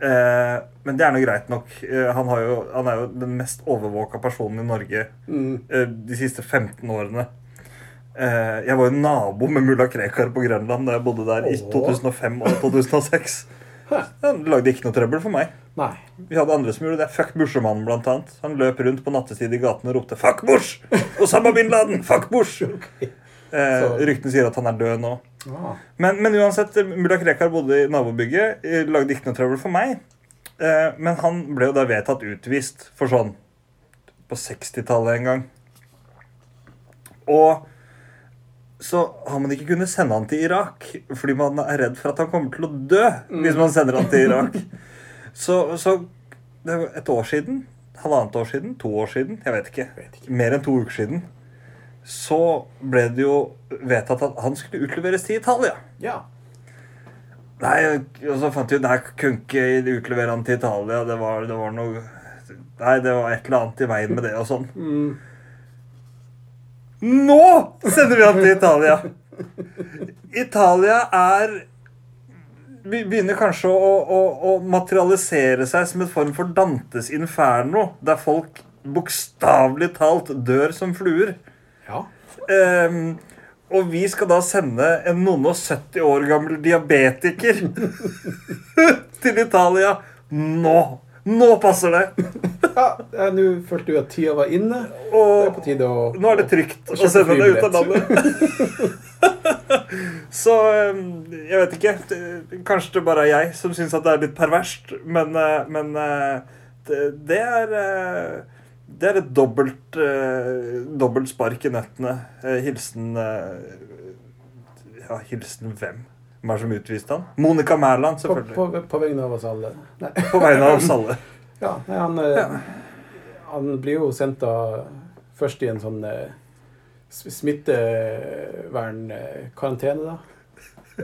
[SPEAKER 1] Eh, men det er nå greit nok. Eh, han, har jo, han er jo den mest overvåka personen i Norge
[SPEAKER 2] Mm.
[SPEAKER 1] eh, de siste 15 årene. Eh, jeg var jo nabo med mulla Krekar på Grønland da jeg bodde der i
[SPEAKER 2] Åh.
[SPEAKER 1] 2005 og 2006.
[SPEAKER 2] Hæ.
[SPEAKER 1] Han lagde ikke noe trøbbel for meg.
[SPEAKER 2] Nei.
[SPEAKER 1] Vi hadde andre som gjorde det. Fuck Bushemannen, blant annet. Han løp rundt på nattetid i gatene og ropte 'fuck Bush'! Osama bin Laden! Fuck Bush! Eh,
[SPEAKER 2] Så-
[SPEAKER 1] ryktene sier at han er død nå.
[SPEAKER 2] Ah.
[SPEAKER 1] Men, men uansett, mulla Krekar bodde i nabobygget. eh, Lagde ikke noe trøbbel for meg. Eh, men han ble jo da vedtatt utvist for sånn på 60-tallet en gang. Og så har man ikke kunnet sende han til Irak fordi man er redd for at han kommer til å dø hvis man sender han til Irak. Så, så det er jo et år siden, halvannet år siden, to år siden, jeg vet ikke.
[SPEAKER 2] Vet
[SPEAKER 1] Mer enn to uker siden. Så ble det jo vedtatt at han skulle utleveres til Italia.
[SPEAKER 2] Ja.
[SPEAKER 1] Nei, og så fant vi ut Nei, kunne ikke utlevere han til Italia. Det var, det var noe Nei, det var et eller annet i veien med det og sånn. Nå sender vi han til Italia! Italia er be- Begynner kanskje å, å, å materialisere seg som en form for Dantes inferno, der folk bokstavelig talt dør som fluer.
[SPEAKER 2] Ja.
[SPEAKER 1] Ehm, og vi skal da sende en noen og 70 år gammel diabetiker til Italia nå. Nå passer det!
[SPEAKER 2] ja eh, Nå følte du at tida var inne. Det er
[SPEAKER 1] Og
[SPEAKER 2] på tide å
[SPEAKER 1] nå er det trygt
[SPEAKER 2] Og
[SPEAKER 1] å sende
[SPEAKER 2] kjøpe
[SPEAKER 1] deg ut av
[SPEAKER 2] flybillett.
[SPEAKER 1] landet. Så ehm, jeg vet ikke. Det- Kanskje det bare er jeg som syns at det er litt perverst, men, eh, men eh, det, det er eh, det er et dobbelt, eh, dobbelt spark i nøttene. Eh, Hilsen eh, Ja, hilsen hvem? Hvem er det som utviste han? Monica Mæland,
[SPEAKER 2] på,
[SPEAKER 1] selvfølgelig. På,
[SPEAKER 2] på, på vegne av oss alle. Nei.
[SPEAKER 1] vegne av oss alle.
[SPEAKER 2] Ja, nei, han, eh, han blir jo sendt da først i en sånn eh, s- smittevernkarantene, da.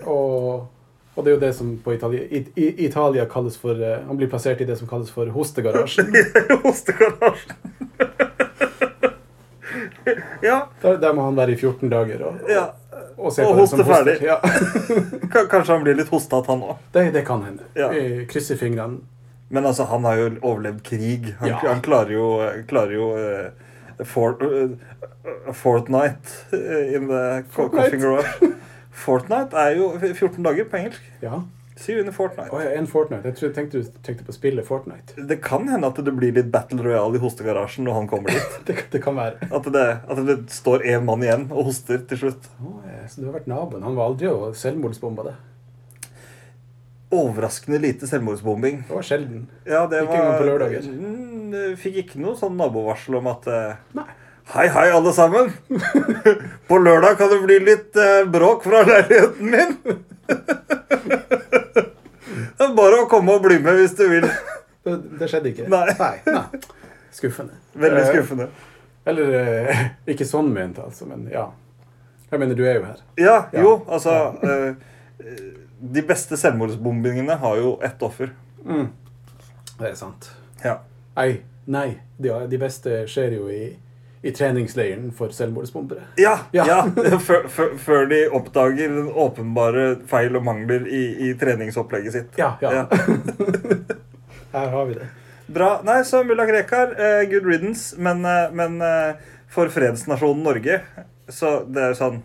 [SPEAKER 2] Og, og det er jo det som på Italia, i, i Italia kalles for eh, Han blir plassert i det som kalles for hostegarasjen.
[SPEAKER 1] Hostegarasjen. ja,
[SPEAKER 2] Der, der må han være i 14 dager og,
[SPEAKER 1] ja.
[SPEAKER 2] og se
[SPEAKER 1] Og
[SPEAKER 2] på den som
[SPEAKER 1] hoste
[SPEAKER 2] hoster.
[SPEAKER 1] ferdig.
[SPEAKER 2] Ja.
[SPEAKER 1] K kanskje han blir litt hostete, han òg.
[SPEAKER 2] Det, det kan hende.
[SPEAKER 1] Ja.
[SPEAKER 2] Vi krysser fingrene.
[SPEAKER 1] Men altså, han har jo overlevd krig. Han,
[SPEAKER 2] Ja.
[SPEAKER 1] han klarer jo, klarer jo eh, for, eh, Fortnite eh, in the co-
[SPEAKER 2] Fortnite.
[SPEAKER 1] coffee garage. Fortnite er jo 14 dager på engelsk.
[SPEAKER 2] Ja.
[SPEAKER 1] Syv under Fortnite.
[SPEAKER 2] Å ja, en Fortnite. Jeg trodde, tenkte du tenkte på spillet Fortnite.
[SPEAKER 1] Det kan hende at det blir litt Battle Royale i hostegarasjen når han kommer dit.
[SPEAKER 2] Det, det kan være.
[SPEAKER 1] At det, at det står én mann igjen og hoster til slutt.
[SPEAKER 2] Å, ja, så du har vært naboen. Han var aldri å selvmordsbombe det.
[SPEAKER 1] Overraskende lite selvmordsbombing.
[SPEAKER 2] Det var sjelden.
[SPEAKER 1] Ja, det
[SPEAKER 2] Ikke
[SPEAKER 1] var
[SPEAKER 2] engang på lørdager.
[SPEAKER 1] Mm, det Fikk ikke noe sånn nabovarsel om at eh,
[SPEAKER 2] Nei.
[SPEAKER 1] Hei, hei, alle sammen. På lørdag kan det bli litt eh, bråk fra leiligheten min. Det er bare å komme og bli med hvis du vil.
[SPEAKER 2] Det, det skjedde ikke.
[SPEAKER 1] Nei.
[SPEAKER 2] Nei. Skuffende.
[SPEAKER 1] Veldig
[SPEAKER 2] Eh,
[SPEAKER 1] skuffende.
[SPEAKER 2] Eller eh, ikke sånn ment, altså, men ja. Jeg mener, du er jo her.
[SPEAKER 1] Ja,
[SPEAKER 2] ja.
[SPEAKER 1] jo, altså eh, De beste selvmordsbombingene har jo ett offer.
[SPEAKER 2] Det er sant.
[SPEAKER 1] Mm. Ja.
[SPEAKER 2] Nei, nei. De, de beste skjer jo i, i treningsleiren for selvmordsbombere.
[SPEAKER 1] Ja, ja.
[SPEAKER 2] Ja.
[SPEAKER 1] før, før- før de oppdager den åpenbare feil og mangler i, i treningsopplegget sitt.
[SPEAKER 2] Ja, ja.
[SPEAKER 1] Ja.
[SPEAKER 2] Her har vi det.
[SPEAKER 1] Bra. Nei, så mulla Krekar, eh, good riddance. Men, eh, men eh, for fredsnasjonen Norge, så det er jo sånn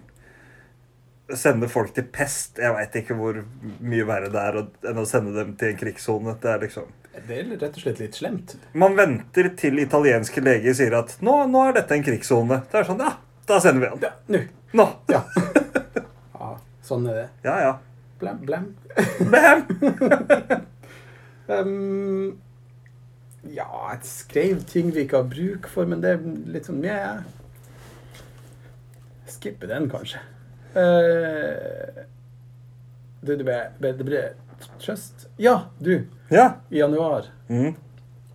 [SPEAKER 1] Sende folk til pest. Jeg veit ikke hvor mye verre det er å- enn å sende dem til en krigssone. Det er liksom
[SPEAKER 2] Det er rett og slett litt slemt.
[SPEAKER 1] Man venter til italienske leger sier at nå, 'Nå er dette en krigssone'. Det er sånn Ja, da sender vi han.
[SPEAKER 2] Ja, nå.
[SPEAKER 1] Nå!
[SPEAKER 2] Ja. ja. Sånn er det.
[SPEAKER 1] Ja, ja.
[SPEAKER 2] Blam, blam.
[SPEAKER 1] Bam!
[SPEAKER 2] Ehm, ja, jeg skrev ting vi ikke har bruk for, men det er litt sånn meh. Skippe den, kanskje. Eh, du, det ble, ble- det ble trøst. Ja, du.
[SPEAKER 1] Ja.
[SPEAKER 2] I januar.
[SPEAKER 1] Mm.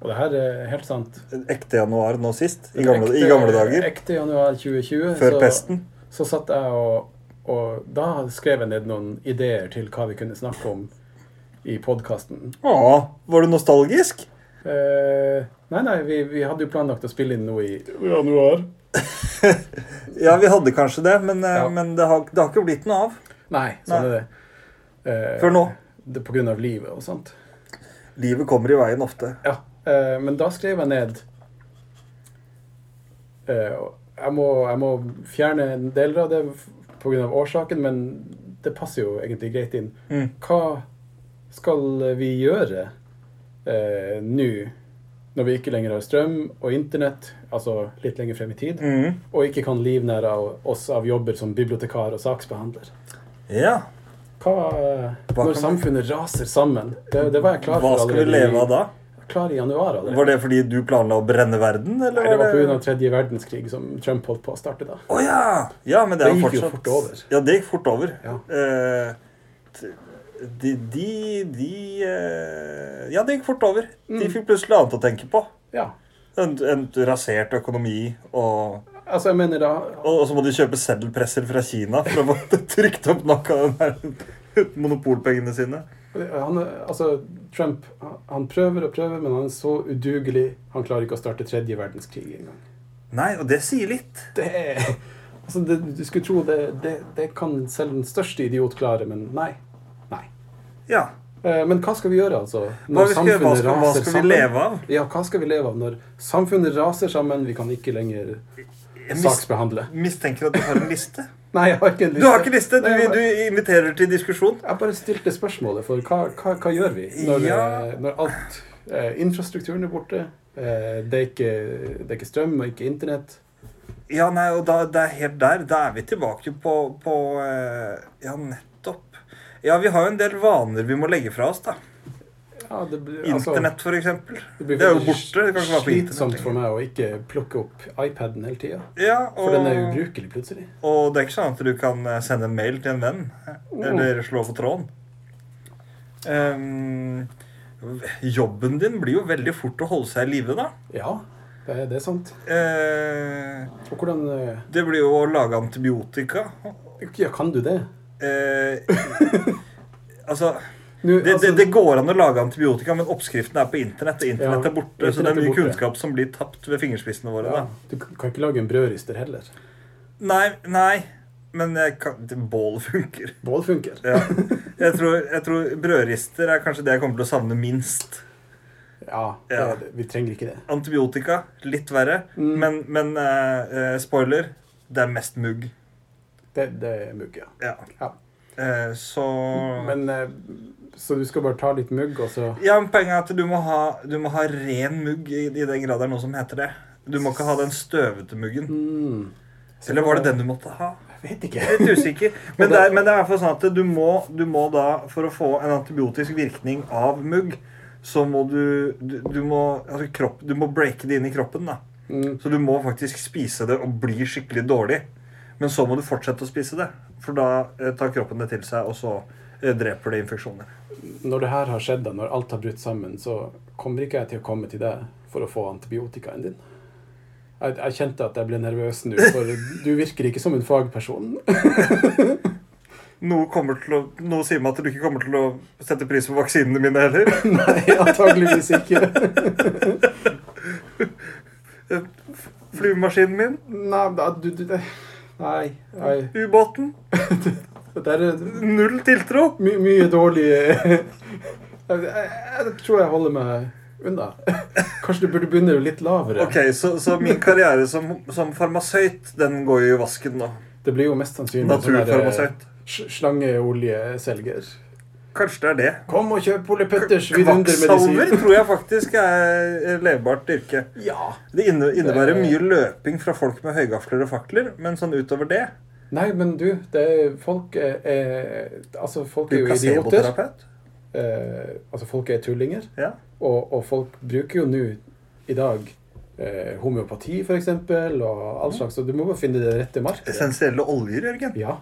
[SPEAKER 2] Og det her er helt sant.
[SPEAKER 1] Ekte januar nå sist. I gamle,
[SPEAKER 2] Ekte-
[SPEAKER 1] i gamle dager.
[SPEAKER 2] Ekte januar 2020.
[SPEAKER 1] Før
[SPEAKER 2] så-
[SPEAKER 1] pesten.
[SPEAKER 2] Så satt jeg og, og Da skrev jeg ned noen ideer til hva vi kunne snakke om i podkasten.
[SPEAKER 1] Å, var du nostalgisk?
[SPEAKER 2] Eh, nei, nei, vi, vi hadde jo planlagt å spille inn nå i januar.
[SPEAKER 1] Ja, vi hadde kanskje det, men, eh,
[SPEAKER 2] Ja.
[SPEAKER 1] men det, har, det har ikke blitt noe av.
[SPEAKER 2] Nei, sånn
[SPEAKER 1] Nei.
[SPEAKER 2] er det. Eh,
[SPEAKER 1] Før nå.
[SPEAKER 2] Det er på grunn av livet og sånt.
[SPEAKER 1] Livet kommer i veien ofte.
[SPEAKER 2] Ja, eh, men da skrev jeg ned eh, og jeg, må, jeg må fjerne en del av det pga. årsaken, men det passer jo egentlig greit inn.
[SPEAKER 1] Mm.
[SPEAKER 2] Hva skal vi gjøre eh, nå, når vi ikke lenger har strøm og internett, altså litt lenger frem i tid,
[SPEAKER 1] Mm.
[SPEAKER 2] og ikke kan livnære av oss av jobber som bibliotekar og saksbehandler?
[SPEAKER 1] Ja.
[SPEAKER 2] Hva, eh,
[SPEAKER 1] Hva
[SPEAKER 2] når
[SPEAKER 1] kan-
[SPEAKER 2] samfunnet raser sammen? Det, det var jeg klar
[SPEAKER 1] Hva
[SPEAKER 2] for
[SPEAKER 1] skal vi
[SPEAKER 2] allerede
[SPEAKER 1] leve av da?
[SPEAKER 2] i, klar i januar. allerede.
[SPEAKER 1] Var det fordi du planla å brenne verden, eller?
[SPEAKER 2] Nei, det var
[SPEAKER 1] var det-
[SPEAKER 2] pga. tredje verdenskrig som Trump holdt på å starte da.
[SPEAKER 1] Å ja! Ja, men det,
[SPEAKER 2] Det
[SPEAKER 1] er jo
[SPEAKER 2] gikk jo
[SPEAKER 1] fortsatt
[SPEAKER 2] fort over.
[SPEAKER 1] Ja, det gikk fort over.
[SPEAKER 2] Ja.
[SPEAKER 1] Eh, t- de de, de eh, Ja, det gikk fort over.
[SPEAKER 2] Mm.
[SPEAKER 1] De fikk plutselig annet å tenke på.
[SPEAKER 2] Ja.
[SPEAKER 1] En, en rasert økonomi, og,
[SPEAKER 2] Altså, jeg mener da
[SPEAKER 1] og, og så må de kjøpe seddelpresser fra Kina for å få trykt opp nok av den her monopolpengene sine.
[SPEAKER 2] han, Altså, Trump han prøver og prøver, men han er så udugelig. Han klarer ikke å starte tredje verdenskrig engang.
[SPEAKER 1] Nei, og det sier litt.
[SPEAKER 2] Det er Altså, det, du skulle tro det, det, det kan selv den største idiot klare, men nei. Nei.
[SPEAKER 1] Ja.
[SPEAKER 2] Eh, Men hva skal vi gjøre, altså?
[SPEAKER 1] Hva, vi skal, gjøre? hva, skal, hva skal vi leve av?
[SPEAKER 2] Ja, hva skal vi leve av når samfunnet raser sammen? Vi kan ikke lenger
[SPEAKER 1] Jeg mis,
[SPEAKER 2] saksbehandle.
[SPEAKER 1] mistenker at du har en liste.
[SPEAKER 2] Nei, jeg har ikke en
[SPEAKER 1] Du har ikke liste! Du,
[SPEAKER 2] Nei, jeg har-
[SPEAKER 1] du inviterer til diskusjon.
[SPEAKER 2] Jeg bare stilte spørsmålet, for hva, hva, hva gjør vi når,
[SPEAKER 1] Ja.
[SPEAKER 2] eh, når alt eh, Infrastrukturen er borte, eh, det, er ikke, det er ikke strøm og ikke internett.
[SPEAKER 1] Ja, nei, og da, det er helt der. Da er vi tilbake på, på eh, Ja, nettopp. Ja, vi har jo en del vaner vi må legge fra oss, da.
[SPEAKER 2] Ja, det blir, altså,
[SPEAKER 1] Internett, for eksempel.
[SPEAKER 2] det
[SPEAKER 1] Det er jo borte. Det kan ikke være på
[SPEAKER 2] slitsomt
[SPEAKER 1] internett.
[SPEAKER 2] for
[SPEAKER 1] lenger.
[SPEAKER 2] meg å ikke plukke opp iPaden hele tida.
[SPEAKER 1] Ja,
[SPEAKER 2] For den er
[SPEAKER 1] og,
[SPEAKER 2] ubrukelig plutselig.
[SPEAKER 1] og det er ikke sånn at du kan eh, sende en mail til en venn.
[SPEAKER 2] Mm.
[SPEAKER 1] eh, Eller slå på tråden. Ehm, jobben din blir jo veldig fort å holde seg i live, da.
[SPEAKER 2] Ja, det er, det er sant.
[SPEAKER 1] Eh,
[SPEAKER 2] Og hvordan eh,
[SPEAKER 1] det blir jo å lage antibiotika.
[SPEAKER 2] Ja, kan du det?
[SPEAKER 1] Eh, altså
[SPEAKER 2] Nå,
[SPEAKER 1] Det,
[SPEAKER 2] altså,
[SPEAKER 1] det, det går an å lage antibiotika, men oppskriften er på internett. Og internett
[SPEAKER 2] Ja,
[SPEAKER 1] er borte, så det
[SPEAKER 2] internett
[SPEAKER 1] er
[SPEAKER 2] er
[SPEAKER 1] mye
[SPEAKER 2] borte.
[SPEAKER 1] kunnskap som blir tapt ved fingerspissene våre.
[SPEAKER 2] ja, du kan ikke lage en brødrister heller.
[SPEAKER 1] da. Nei, nei, men jeg kan, det- bålet funker.
[SPEAKER 2] Bål funker.
[SPEAKER 1] Ja. Jeg, tror, jeg tror brødrister er kanskje det jeg kommer til å savne minst.
[SPEAKER 2] Ja, det,
[SPEAKER 1] Ja.
[SPEAKER 2] det- vi trenger ikke det.
[SPEAKER 1] Antibiotika, litt verre.
[SPEAKER 2] Mm.
[SPEAKER 1] Men, men eh, eh, spoiler, det er mest mugg.
[SPEAKER 2] Det, det er mugg, ja.
[SPEAKER 1] Ja.
[SPEAKER 2] Ja.
[SPEAKER 1] Eh, så
[SPEAKER 2] Men, eh, så du skal bare ta litt mugg, og så
[SPEAKER 1] Ja, men Poenget er at du må ha, du må ha ren mugg i, i den grad det er noe som heter det. Du må ikke ha den støvete muggen.
[SPEAKER 2] mm.
[SPEAKER 1] Eller var det den du måtte ha?
[SPEAKER 2] Jeg vet ikke.
[SPEAKER 1] Litt usikker. Men det er, men det er i hvert fall sånn at du må, du må da, for å få en antibiotisk virkning av mugg, så må du Du, du må altså kropp, du må breake det inn i kroppen. da.
[SPEAKER 2] Mm.
[SPEAKER 1] Så du må faktisk spise det og bli skikkelig dårlig. Men så må du fortsette å spise det, for da eh, tar kroppen det til seg, og så eh, dreper det infeksjoner.
[SPEAKER 2] Når det her har skjedd, da, når alt har brutt sammen, så kommer ikke jeg til å komme til deg for å få antibiotikaen din. Jeg, jeg kjente at jeg ble nervøs nå, for du virker ikke som en fagperson.
[SPEAKER 1] Noe, kommer til å, noe sier meg at du ikke kommer til å sette pris på vaksinene mine heller.
[SPEAKER 2] Nei, antageligvis ikke.
[SPEAKER 1] Flyvemaskinen min,
[SPEAKER 2] Nei, da, du, du det- Nei. nei.
[SPEAKER 1] ubåten.
[SPEAKER 2] Det der er
[SPEAKER 1] Null tiltro.
[SPEAKER 2] my, mye dårlig jeg, jeg, jeg tror jeg holder meg unna. Kanskje du burde begynne litt lavere.
[SPEAKER 1] Ok, så, så min karriere som, som farmasøyt, den går jo i vasken nå.
[SPEAKER 2] Det blir jo mest sannsynlig sånn der, eh,
[SPEAKER 1] Naturfarmasøyt.
[SPEAKER 2] sl- Slangeoljeselger.
[SPEAKER 1] Kanskje det er det.
[SPEAKER 2] Kom og kjøp Ole Petters
[SPEAKER 1] Kvakksalver
[SPEAKER 2] vidundermedisin.
[SPEAKER 1] tror jeg faktisk er levbart yrke.
[SPEAKER 2] Ja.
[SPEAKER 1] Det inne- innebærer
[SPEAKER 2] Det-
[SPEAKER 1] mye løping fra folk med høygafler og fakler, men sånn utover det
[SPEAKER 2] Nei, men du, det er, folk er, er Altså, folk er
[SPEAKER 1] Du
[SPEAKER 2] jo idioter.
[SPEAKER 1] placeboterapeut?
[SPEAKER 2] Eh, altså, folk er tullinger.
[SPEAKER 1] Ja.
[SPEAKER 2] Og, og folk bruker jo nå i dag eh, homeopati, for eksempel, og all slags. Så du må bare finne det rette markedet.
[SPEAKER 1] Essensielle oljer, Jørgen.
[SPEAKER 2] Ja.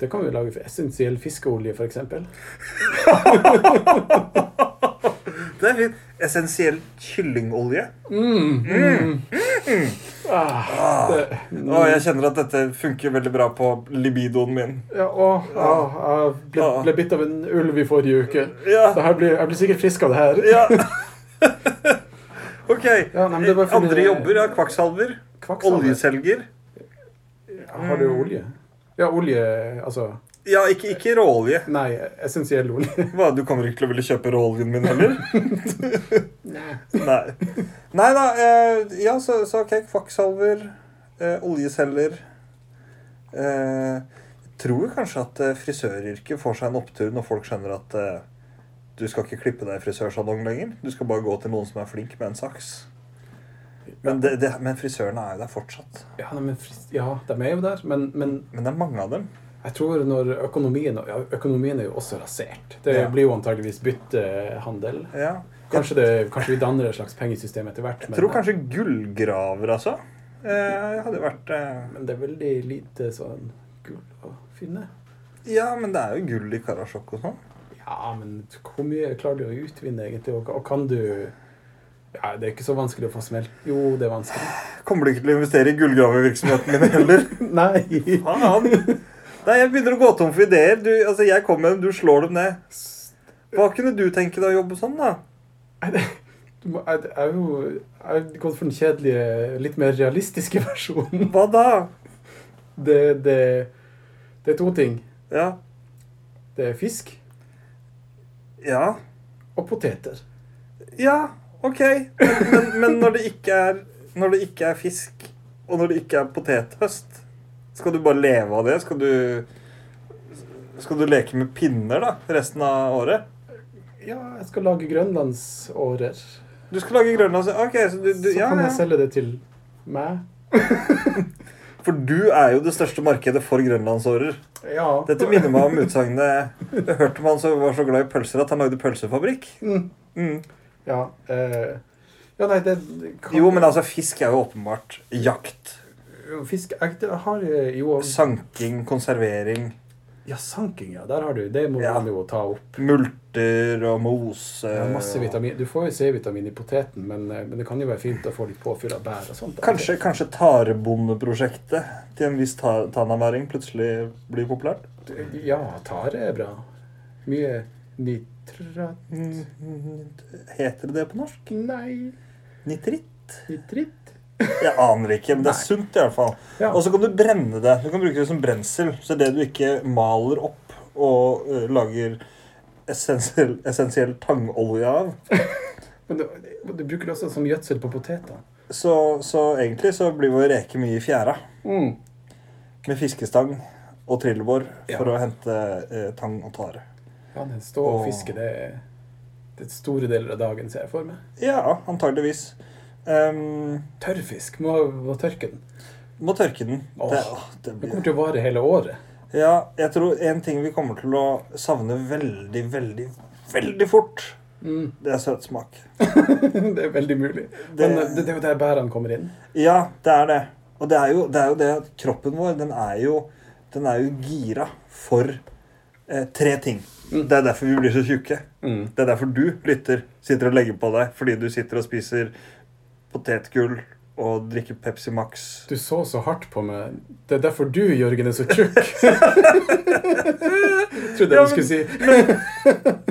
[SPEAKER 2] Det kan vi lage for essensiell fiskeolje, for eksempel.
[SPEAKER 1] Det er fint. Essensiell kyllingolje.
[SPEAKER 2] Mm. Mm. Ah, det,
[SPEAKER 1] Og jeg kjenner at dette funker veldig bra på libidoen min.
[SPEAKER 2] ja, å,
[SPEAKER 1] Ah.
[SPEAKER 2] ja, jeg ble, ble bitt av en ulv i forrige uke.
[SPEAKER 1] Ja.
[SPEAKER 2] Så her blir, jeg blir sikkert frisk av det her.
[SPEAKER 1] Ja. OK.
[SPEAKER 2] Ja, nei, men det var fordi-
[SPEAKER 1] Andre jobber, ja. Kvakksalver.
[SPEAKER 2] Kvakksalver.
[SPEAKER 1] Oljeselger.
[SPEAKER 2] Har du olje? Ja, olje Altså
[SPEAKER 1] Ja, ikke, ikke råolje.
[SPEAKER 2] Nei, essensiell olje.
[SPEAKER 1] Hva, du kommer ikke til å ville kjøpe råoljen min heller? Nei. Nei da. Eh, ja, så, så ok. Kvakksalver. Eh, oljeselger. Eh, jeg tror jo kanskje at eh, frisøryrket får seg en opptur når folk skjønner at eh, du skal ikke klippe deg i frisørsalong lenger. Du skal bare gå til noen som er flink med en saks. Men, det, det, men frisørene er jo der fortsatt.
[SPEAKER 2] Ja, nei, men frist, ja de er jo der, men, men
[SPEAKER 1] Men det er mange av dem.
[SPEAKER 2] jeg tror når økonomien ja, Økonomien er jo også rasert. Det
[SPEAKER 1] Ja.
[SPEAKER 2] blir jo antageligvis byttehandel.
[SPEAKER 1] Ja.
[SPEAKER 2] Kanskje, det, kanskje vi danner et slags pengesystem etter hvert.
[SPEAKER 1] Jeg tror kanskje gullgraver, altså. Eh, hadde vært eh,
[SPEAKER 2] men det er veldig lite sånn gull å finne.
[SPEAKER 1] Ja, men det er jo gull i Karasjok og sånn.
[SPEAKER 2] Ja, men hvor mye klarer du å utvinne, egentlig? Og, og kan du Ja, det er ikke så vanskelig å få smelt. Jo, det er vanskelig.
[SPEAKER 1] Kommer du ikke til å investere i gullgravevirksomheten min heller?
[SPEAKER 2] Nei!
[SPEAKER 1] Faen! Nei, jeg begynner å gå tom for ideer. Du, altså, jeg kommer med dem, du slår dem ned. Hva kunne du tenke deg å jobbe som, da?
[SPEAKER 2] Du må- Jeg jeg er jo Jeg har gått for den kjedelige, litt mer realistiske versjonen.
[SPEAKER 1] Hva da?
[SPEAKER 2] Det, det, det er to ting.
[SPEAKER 1] Ja.
[SPEAKER 2] Det er fisk
[SPEAKER 1] Ja.
[SPEAKER 2] og poteter.
[SPEAKER 1] Ja, OK. Men, men, men når, det ikke er, når det ikke er fisk, og når det ikke er potethøst, skal du bare leve av det? Skal du Skal du leke med pinner da, resten av året?
[SPEAKER 2] Ja, jeg skal lage grønlandsårer.
[SPEAKER 1] Du skal lage grønlands... Ok, så du, du
[SPEAKER 2] Så
[SPEAKER 1] ja,
[SPEAKER 2] kan jeg
[SPEAKER 1] ja.
[SPEAKER 2] selge det til meg.
[SPEAKER 1] For du er jo det største markedet for grønlandsårer.
[SPEAKER 2] Ja.
[SPEAKER 1] Dette minner meg om utsagnet Jeg hørte om han som var så glad i pølser at han lagde pølsefabrikk.
[SPEAKER 2] Mm.
[SPEAKER 1] Mm.
[SPEAKER 2] Ja, eh, ja nei, det kan,
[SPEAKER 1] Jo, men altså, fisk er jo åpenbart jakt.
[SPEAKER 2] Fisk jeg, det har eh, jo
[SPEAKER 1] Sanking, konservering,
[SPEAKER 2] Ja, sanking, ja. Der har du. Det må
[SPEAKER 1] Ja.
[SPEAKER 2] man jo ta opp.
[SPEAKER 1] multer og mose.
[SPEAKER 2] Det er Masse
[SPEAKER 1] og-
[SPEAKER 2] vitamin. Du får jo C-vitamin i poteten, men, eh, men det kan jo være fint å få litt påfyll av bær og sånt.
[SPEAKER 1] Kanskje, kanskje tarebondeprosjektet til en viss ta tanaværing plutselig blir populært?
[SPEAKER 2] Ja, tare er bra. Mye nitrat
[SPEAKER 1] Mm. Heter det det på norsk?
[SPEAKER 2] Nei,
[SPEAKER 1] Nitritt?
[SPEAKER 2] nitritt?
[SPEAKER 1] Jeg aner ikke, men det er
[SPEAKER 2] Nei.
[SPEAKER 1] sunt i hvert fall.
[SPEAKER 2] Ja.
[SPEAKER 1] Og så kan du brenne det. Du kan bruke det som brensel. Så det du ikke maler opp og eh, lager essensiell, essensiell tangolje av
[SPEAKER 2] Men du, du bruker det også som gjødsel på poteter.
[SPEAKER 1] så, så egentlig så blir vår reke mye i fjæra. Mm. Med fiskestang og trillebår for
[SPEAKER 2] Ja.
[SPEAKER 1] å hente eh, tang og tare.
[SPEAKER 2] Ja, den står og fisker, det er det er store deler av dagen, ser jeg for meg.
[SPEAKER 1] Ja, antageligvis. Ehm,
[SPEAKER 2] Tørrfisk, må, må tørke den.
[SPEAKER 1] må tørke den.
[SPEAKER 2] Åh,
[SPEAKER 1] det, åh, det
[SPEAKER 2] Den
[SPEAKER 1] blir...
[SPEAKER 2] kommer til å vare hele året.
[SPEAKER 1] Ja, jeg tror en ting vi kommer til å savne veldig, veldig, veldig fort,
[SPEAKER 2] Mm.
[SPEAKER 1] det er søtsmak.
[SPEAKER 2] det er veldig mulig. Men eh, det, det er jo der bærene kommer inn.
[SPEAKER 1] Ja, det er det. Og det er jo det, er jo det at kroppen vår, den er jo, den er jo gira for eh, tre ting.
[SPEAKER 2] Mm.
[SPEAKER 1] Det er derfor vi blir så tjukke. Det er derfor du lytter, sitter og legger på deg fordi du sitter og spiser potetgull og drikker Pepsi Max.
[SPEAKER 2] Du så så hardt på meg. Det er derfor du, Jørgen, er så tjukk. Trodde jeg
[SPEAKER 1] Ja,
[SPEAKER 2] du skulle si.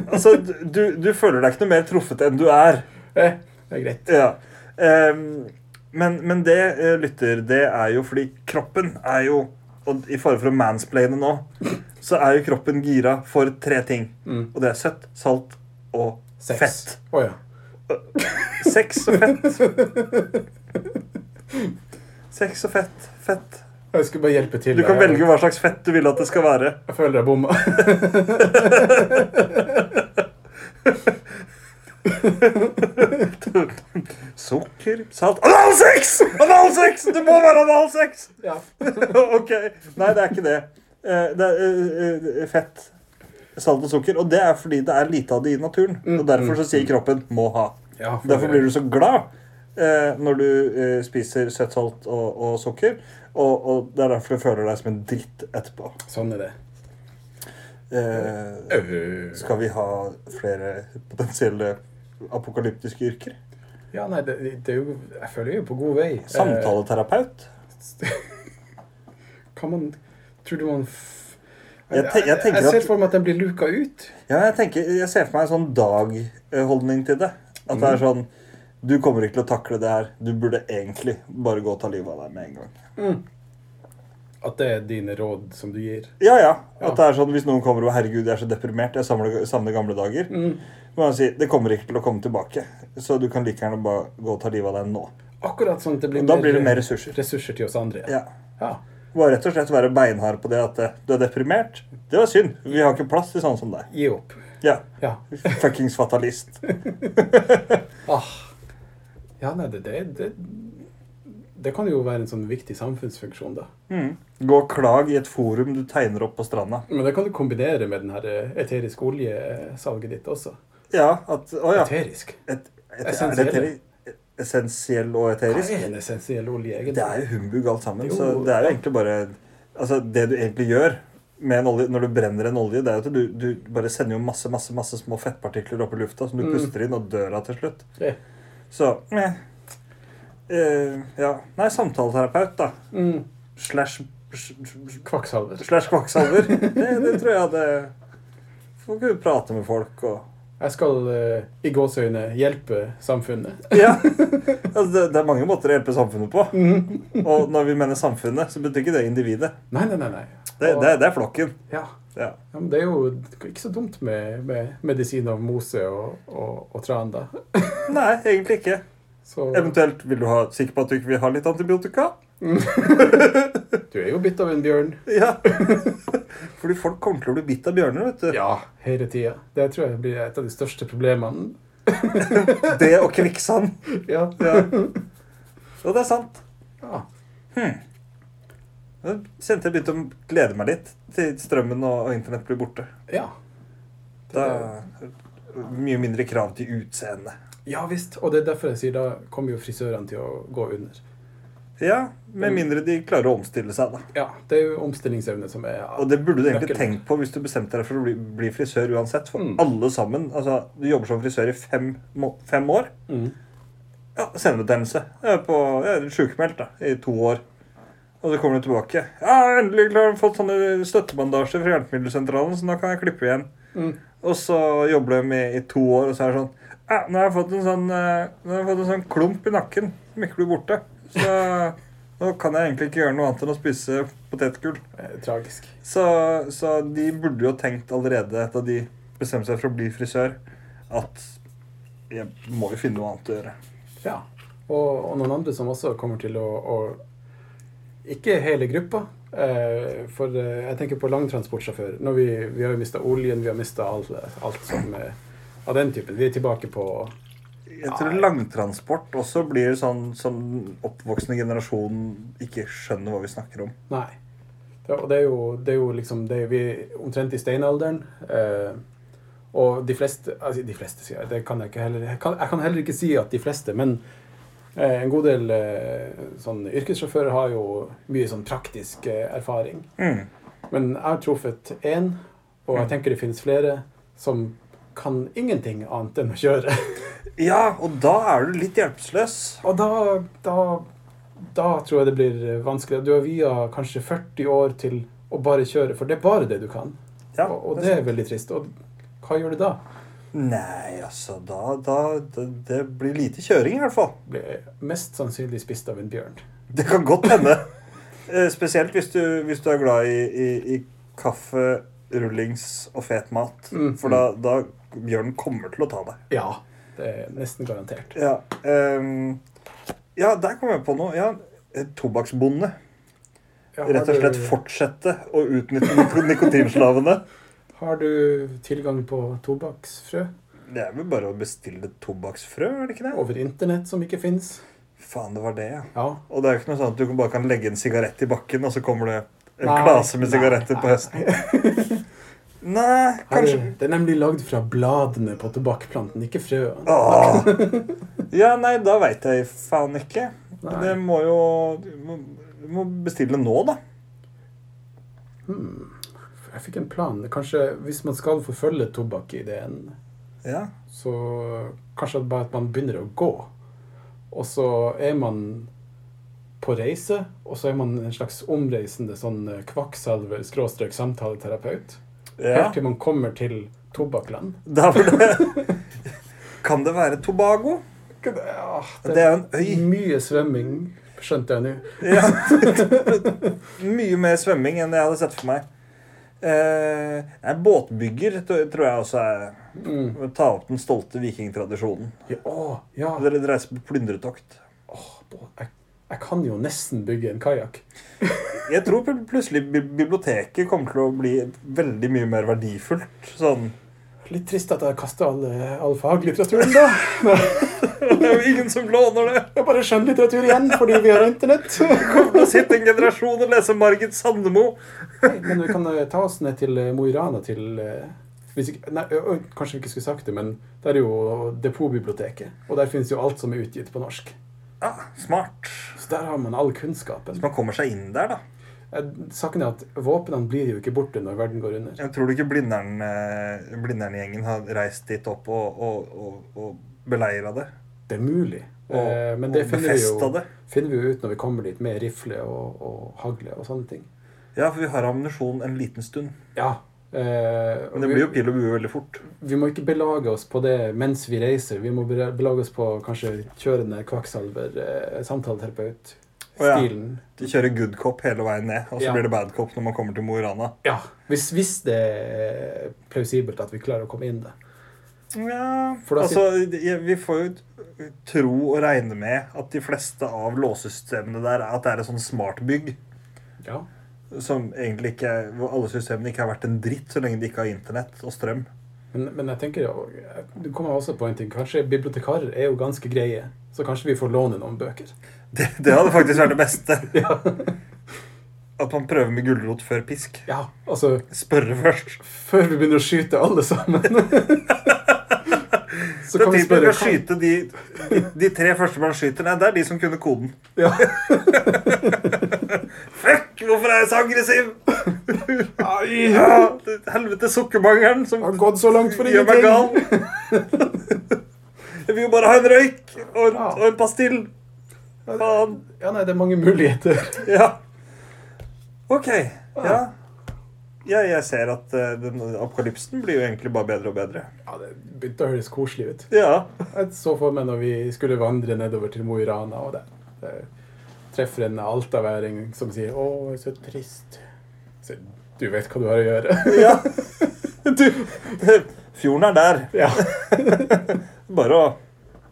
[SPEAKER 1] Altså, du, du føler deg ikke noe mer truffet enn du er.
[SPEAKER 2] Eh, det er greit.
[SPEAKER 1] Ja. Ehm, men, men det, eh, lytter, det er jo fordi kroppen er jo Og i fare for å mansplaine nå, så er jo kroppen gira for tre ting.
[SPEAKER 2] Mm.
[SPEAKER 1] Og det er søtt, salt og
[SPEAKER 2] Sex.
[SPEAKER 1] fett.
[SPEAKER 2] Å ja.
[SPEAKER 1] Sex og fett. Sex og fett. Fett.
[SPEAKER 2] Jeg skulle bare hjelpe til.
[SPEAKER 1] Du kan
[SPEAKER 2] Jeg-
[SPEAKER 1] velge hva slags fett du vil at det skal være.
[SPEAKER 2] Jeg føler jeg bomma.
[SPEAKER 1] Sukker, salt Analsex! Analsex! Det må være analsex!
[SPEAKER 2] ja.
[SPEAKER 1] ok. Nei, det er ikke det. Eh, Det er eh, eh, fett, salt og sukker. Og det er fordi det er lite av det i naturen.
[SPEAKER 2] Mm.
[SPEAKER 1] Og derfor så sier kroppen 'må ha'.
[SPEAKER 2] Ja, for-
[SPEAKER 1] Derfor blir du så glad eh, når du eh, spiser søtt salt og, og sukker. Og, og det er derfor du føler deg som en dritt etterpå.
[SPEAKER 2] Sånn er det.
[SPEAKER 1] Eh,
[SPEAKER 2] Øh.
[SPEAKER 1] skal vi ha flere potensielle apokalyptiske yrker?
[SPEAKER 2] Ja, nei, det, det er jo Jeg føler jeg er på god vei.
[SPEAKER 1] Samtaleterapeut.
[SPEAKER 2] Eh, Kan man Tror du man f
[SPEAKER 1] Jeg te- jeg tenker
[SPEAKER 2] ser
[SPEAKER 1] at-
[SPEAKER 2] for meg at den blir luka ut.
[SPEAKER 1] Ja, jeg, tenker, jeg ser for meg en sånn dag-holdning til det. At det er sånn Du kommer ikke til å takle det her. Du burde egentlig bare gå og ta livet av deg med en gang.
[SPEAKER 2] At det er dine råd som du gir.
[SPEAKER 1] Ja, ja.
[SPEAKER 2] Ja.
[SPEAKER 1] At det er sånn Hvis noen kommer og 'Herregud, jeg er så deprimert. Jeg samler- savner gamle dager', må jeg si 'Det kommer ikke til å komme tilbake', så du kan like gjerne bare gå og ta livet av deg nå.
[SPEAKER 2] Akkurat sånn at det blir,
[SPEAKER 1] Og da blir det mer ressurser.
[SPEAKER 2] ressurser til oss andre.
[SPEAKER 1] Ja.
[SPEAKER 2] Ja.
[SPEAKER 1] Bare rett og slett være beinhard på det at eh, du er deprimert. Det var synd. Vi har ikke plass til sånne som deg.
[SPEAKER 2] Gi opp.
[SPEAKER 1] Ja.
[SPEAKER 2] Ja.
[SPEAKER 1] Fuckings fatalist.
[SPEAKER 2] Ah. ja nei, det, det, det, det kan jo være en sånn viktig samfunnsfunksjon, da.
[SPEAKER 1] Mm. Gå og klag i et forum du tegner opp på stranda.
[SPEAKER 2] Men det kan du kombinere med den her eh, eterisk oljesalget ditt også.
[SPEAKER 1] Ja, at Å ja.
[SPEAKER 2] Eterisk?
[SPEAKER 1] Et, et,
[SPEAKER 2] Essensielle.
[SPEAKER 1] er det eteri- essensiell og
[SPEAKER 2] Hva
[SPEAKER 1] eterisk?
[SPEAKER 2] er en essensiell olje,
[SPEAKER 1] Det er
[SPEAKER 2] egentlig?
[SPEAKER 1] jo humbug alt sammen.
[SPEAKER 2] Jo.
[SPEAKER 1] Så det er jo egentlig bare Altså, det du egentlig gjør med en olje, når du brenner en olje, det er jo at du, du bare sender jo masse, masse, masse små fettpartikler opp i lufta som du
[SPEAKER 2] Mm.
[SPEAKER 1] puster inn, og dør av til slutt.
[SPEAKER 2] Det
[SPEAKER 1] Så meh. Eh, ja. Nei, samtaleterapeut, da.
[SPEAKER 2] Mm,
[SPEAKER 1] Slash Slash
[SPEAKER 2] kvakksalver.
[SPEAKER 1] kvakksalver. Det, det tror jeg hadde Får kunne prate med folk og
[SPEAKER 2] Jeg skal eh, i gåseøyne hjelpe samfunnet.
[SPEAKER 1] Ja. Altså, det, det er mange måter å hjelpe samfunnet på. Og når vi mener samfunnet, så betyr ikke det individet.
[SPEAKER 2] Mm. Nei, nei, nei. nei.
[SPEAKER 1] Det,
[SPEAKER 2] Og-
[SPEAKER 1] det, det er flokken.
[SPEAKER 2] Ja.
[SPEAKER 1] Ja.
[SPEAKER 2] ja, men det er jo ikke så dumt med, med medisin av mose og, og, og tran, da.
[SPEAKER 1] Nei, egentlig ikke.
[SPEAKER 2] Så
[SPEAKER 1] Eventuelt vil du ha sikker på at du ikke vil ha litt antibiotika?
[SPEAKER 2] du er jo bitt av en bjørn.
[SPEAKER 1] Ja. Fordi folk kommer til å bli bitt av bjørner, vet du.
[SPEAKER 2] Ja, hele tida. Det tror jeg blir et av de største problemene.
[SPEAKER 1] Det og kvikksand.
[SPEAKER 2] Ja.
[SPEAKER 1] Ja. Og det er sant.
[SPEAKER 2] ja.
[SPEAKER 1] Jeg kjente jeg begynte å glede meg litt til strømmen og og internett blir borte.
[SPEAKER 2] ja.
[SPEAKER 1] Da Mye mindre krav til utseende.
[SPEAKER 2] Ja visst, og det er derfor jeg sier da kommer jo frisørene til å gå under.
[SPEAKER 1] Ja, med mindre de klarer å omstille seg, da.
[SPEAKER 2] Ja, det er jo omstillingsevne som er
[SPEAKER 1] Og det burde du egentlig
[SPEAKER 2] Nøkkelen.
[SPEAKER 1] tenkt på hvis du bestemte deg for å bli, bli frisør uansett. For
[SPEAKER 2] Mm.
[SPEAKER 1] alle sammen. Altså, du jobber som frisør i fem, må- fem år.
[SPEAKER 2] Mm.
[SPEAKER 1] Ja, senebetennelse. Jeg er, på, jeg er sykemeldt da, i to år. Og så kommer du tilbake. Ja, endelig har jeg fått sånne støttebandasjer fra hjelpemiddelsentralen, så nå kan jeg klippe igjen.
[SPEAKER 2] Mm.
[SPEAKER 1] Og så jobber de i, i to år, og så er det sånn ja, nå har jeg fått en sånn, eh, nå har jeg fått en sånn klump i nakken som ikke blir borte. Så nå kan jeg egentlig ikke gjøre noe annet enn å spise potetgull.
[SPEAKER 2] eh, tragisk.
[SPEAKER 1] Så, så de burde jo tenkt allerede da de bestemte seg for å bli frisør, at jeg må jo finne noe annet å gjøre.
[SPEAKER 2] Ja. Og, og noen andre som også kommer til å, å Ikke hele gruppa, eh, for eh, jeg tenker på langtransportsjåfør. Når vi, vi har jo mista oljen, vi har mista alt, alt som eh, av den typen. Vi er tilbake på
[SPEAKER 1] Jeg tror
[SPEAKER 2] Nei.
[SPEAKER 1] langtransport også blir sånn som den oppvoksende generasjonen ikke skjønner hva vi snakker om.
[SPEAKER 2] Nei. Det, og det er jo, det er jo liksom det er Vi er omtrent i steinalderen. Eh, og de fleste altså De fleste, sier jeg. Det kan jeg, ikke heller, jeg, kan, jeg kan heller ikke si at de fleste, men eh, en god del eh, sånn, yrkessjåfører har jo mye sånn praktisk eh, erfaring. Men jeg har truffet én, og jeg tenker det finnes flere, som kan ingenting annet enn å kjøre.
[SPEAKER 1] Ja, og da er du litt hjelpeløs.
[SPEAKER 2] Og da, da, da tror jeg det blir vanskelig. Du har via kanskje 40 år til å bare kjøre, for det er bare det du kan.
[SPEAKER 1] Ja,
[SPEAKER 2] og, og
[SPEAKER 1] det
[SPEAKER 2] det
[SPEAKER 1] er
[SPEAKER 2] er veldig trist. Og hva gjør du da?
[SPEAKER 1] Nei, altså da, da det, det blir lite kjøring, i hvert fall.
[SPEAKER 2] Blir mest sannsynlig spist av en bjørn.
[SPEAKER 1] Det kan godt hende. Eh, Spesielt hvis du, hvis du er glad i, i, i kaffe, rullings og fet mat.
[SPEAKER 2] Mm.
[SPEAKER 1] For da, da bjørnen kommer til å ta deg.
[SPEAKER 2] Ja, det er nesten garantert.
[SPEAKER 1] Ja, ehm, ja der kom jeg på noe. Ja, eh, Tobakksbonde.
[SPEAKER 2] Ja, har
[SPEAKER 1] Rett og slett
[SPEAKER 2] du-
[SPEAKER 1] fortsette å utnytte niko- nikotinslavene.
[SPEAKER 2] Har du tilgang på tobakksfrø
[SPEAKER 1] Det er vel bare å bestille tobakksfrø, er det ikke det?
[SPEAKER 2] over internett som ikke finnes?
[SPEAKER 1] Faen, det var det, ja.
[SPEAKER 2] Ja.
[SPEAKER 1] Og det er jo ikke noe sånn at du bare kan legge en sigarett i bakken, og så kommer det en
[SPEAKER 2] Nei,
[SPEAKER 1] klase med
[SPEAKER 2] nei,
[SPEAKER 1] sigaretter på
[SPEAKER 2] nei.
[SPEAKER 1] høsten. Nei,
[SPEAKER 2] Her er-
[SPEAKER 1] kanskje
[SPEAKER 2] Det er nemlig lagd fra bladene på tobakkplanten, ikke frøene.
[SPEAKER 1] Åh. Ja, nei, da veit jeg faen ikke.
[SPEAKER 2] Nei.
[SPEAKER 1] Det må jo Du må, du må bestille nå, da.
[SPEAKER 2] Hmm. Jeg fikk en plan. Kanskje hvis man skal forfølge tobakkideen
[SPEAKER 1] Ja.
[SPEAKER 2] Så kanskje at bare at man begynner å gå. og så er man på reise, og så er man en slags omreisende sånn eh, kvakksalver-samtaleterapeut.
[SPEAKER 1] Ja,
[SPEAKER 2] Helt til man kommer til tobakkland.
[SPEAKER 1] da var det Kan det være Tobago?
[SPEAKER 2] Ja,
[SPEAKER 1] Det er jo en øy.
[SPEAKER 2] Mye svømming, skjønte jeg nå.
[SPEAKER 1] Ja. Mye mer svømming enn jeg hadde sett for meg. Eh, nei, båtbygger t- tror jeg også er
[SPEAKER 2] Mm.
[SPEAKER 1] å Ta opp den stolte vikingtradisjonen.
[SPEAKER 2] Ja, å, ja.
[SPEAKER 1] Dere reiser på plyndretokt.
[SPEAKER 2] Åh, bo- jeg, jeg kan jo nesten bygge en kajakk.
[SPEAKER 1] Jeg tror pl- plutselig bi- biblioteket kommer til å bli veldig mye mer verdifullt. Sånn
[SPEAKER 2] Litt trist at jeg kaster all, eh, all faglitteraturen, da.
[SPEAKER 1] Det er jo ingen som låner det!
[SPEAKER 2] Det er bare skjønnlitteratur igjen, fordi vi har internett.
[SPEAKER 1] Kommer til å sitte en generasjon og lese Margit Sandemo!
[SPEAKER 2] Nei, Men vi kan eh, ta oss ned til eh, Mo i Rana til eh, hvis ikke, nei, ø, ø, Kanskje vi ikke skulle sagt det, men der er jo depotbiblioteket. Og der finnes jo alt som er utgitt på norsk.
[SPEAKER 1] Ja, smart.
[SPEAKER 2] Så der har man all kunnskapen.
[SPEAKER 1] Man kommer seg inn der, da.
[SPEAKER 2] Eh, Saken er at våpnene blir jo ikke borte når verden går under.
[SPEAKER 1] Jeg tror du ikke Blindern, eh, Blindern-gjengen har reist dit opp og, og, og, og beleira det?
[SPEAKER 2] Det er mulig.
[SPEAKER 1] Og,
[SPEAKER 2] Eh, Men det
[SPEAKER 1] og
[SPEAKER 2] finner vi,
[SPEAKER 1] befesta
[SPEAKER 2] jo,
[SPEAKER 1] det?
[SPEAKER 2] finner vi jo ut når vi kommer dit med rifle og, og hagle og sånne ting.
[SPEAKER 1] Ja, for vi har ammunisjon en liten stund.
[SPEAKER 2] Ja. Eh, og
[SPEAKER 1] Men det
[SPEAKER 2] vi-
[SPEAKER 1] blir jo pil og bue veldig fort.
[SPEAKER 2] Vi må ikke belage oss på det mens vi reiser. Vi må bela- belage oss på kanskje kjørende kvakksalver, eh, samtaleterapeut,
[SPEAKER 1] Å ja.
[SPEAKER 2] stilen.
[SPEAKER 1] De kjører good cop hele veien ned, og så
[SPEAKER 2] Ja.
[SPEAKER 1] blir det bad cop når man kommer til Mo i Rana.
[SPEAKER 2] Ja, hvis, hvis det er plausibelt at vi klarer å komme inn det.
[SPEAKER 1] Ja,
[SPEAKER 2] For da
[SPEAKER 1] altså, jeg- vi får jo tro og regne med at de fleste av låsesystemene der er at det er et sånn smartbygg
[SPEAKER 2] Ja.
[SPEAKER 1] som egentlig ikke Hvor alle systemene ikke er verdt en dritt så lenge de ikke har internett og strøm.
[SPEAKER 2] Men, men jeg tenker jo, du kommer også på en ting. Kanskje bibliotekarer er jo ganske greie, så kanskje vi får låne noen bøker.
[SPEAKER 1] Det, det hadde faktisk vært det beste.
[SPEAKER 2] Ja.
[SPEAKER 1] At man prøver med gulrot før pisk.
[SPEAKER 2] Ja, altså
[SPEAKER 1] Spørre først.
[SPEAKER 2] før vi begynner å skyte alle sammen. så
[SPEAKER 1] Det
[SPEAKER 2] kan
[SPEAKER 1] er typisk
[SPEAKER 2] vi
[SPEAKER 1] å
[SPEAKER 2] spørre
[SPEAKER 1] skyte de, de, de tre første man skyter. Nei, det er de som kunne koden.
[SPEAKER 2] Ja.
[SPEAKER 1] Fuck, hvorfor er jeg så aggressiv?
[SPEAKER 2] Ai,
[SPEAKER 1] Ja, det- helvete sukkermangelen som
[SPEAKER 2] har gått så langt for
[SPEAKER 1] gjør meg
[SPEAKER 2] ingenting.
[SPEAKER 1] gal. Jeg vil jo bare ha en røyk og, en- og en pastill. Faen.
[SPEAKER 2] Ja, nei, det er mange muligheter.
[SPEAKER 1] Ja. OK. Ja. ja. Jeg ser at eh, den apokalypsen blir jo egentlig bare bedre og bedre.
[SPEAKER 2] Ja, Det begynte å høres koselig ut.
[SPEAKER 1] Ja.
[SPEAKER 2] Jeg så for meg når vi skulle vandre nedover til Mo i Rana, og der, der treffer en altaværing som sier 'Å, så trist'. Så, du vet hva du har å gjøre.
[SPEAKER 1] ja. Du, fjorden er der.
[SPEAKER 2] ja.
[SPEAKER 1] Bare å,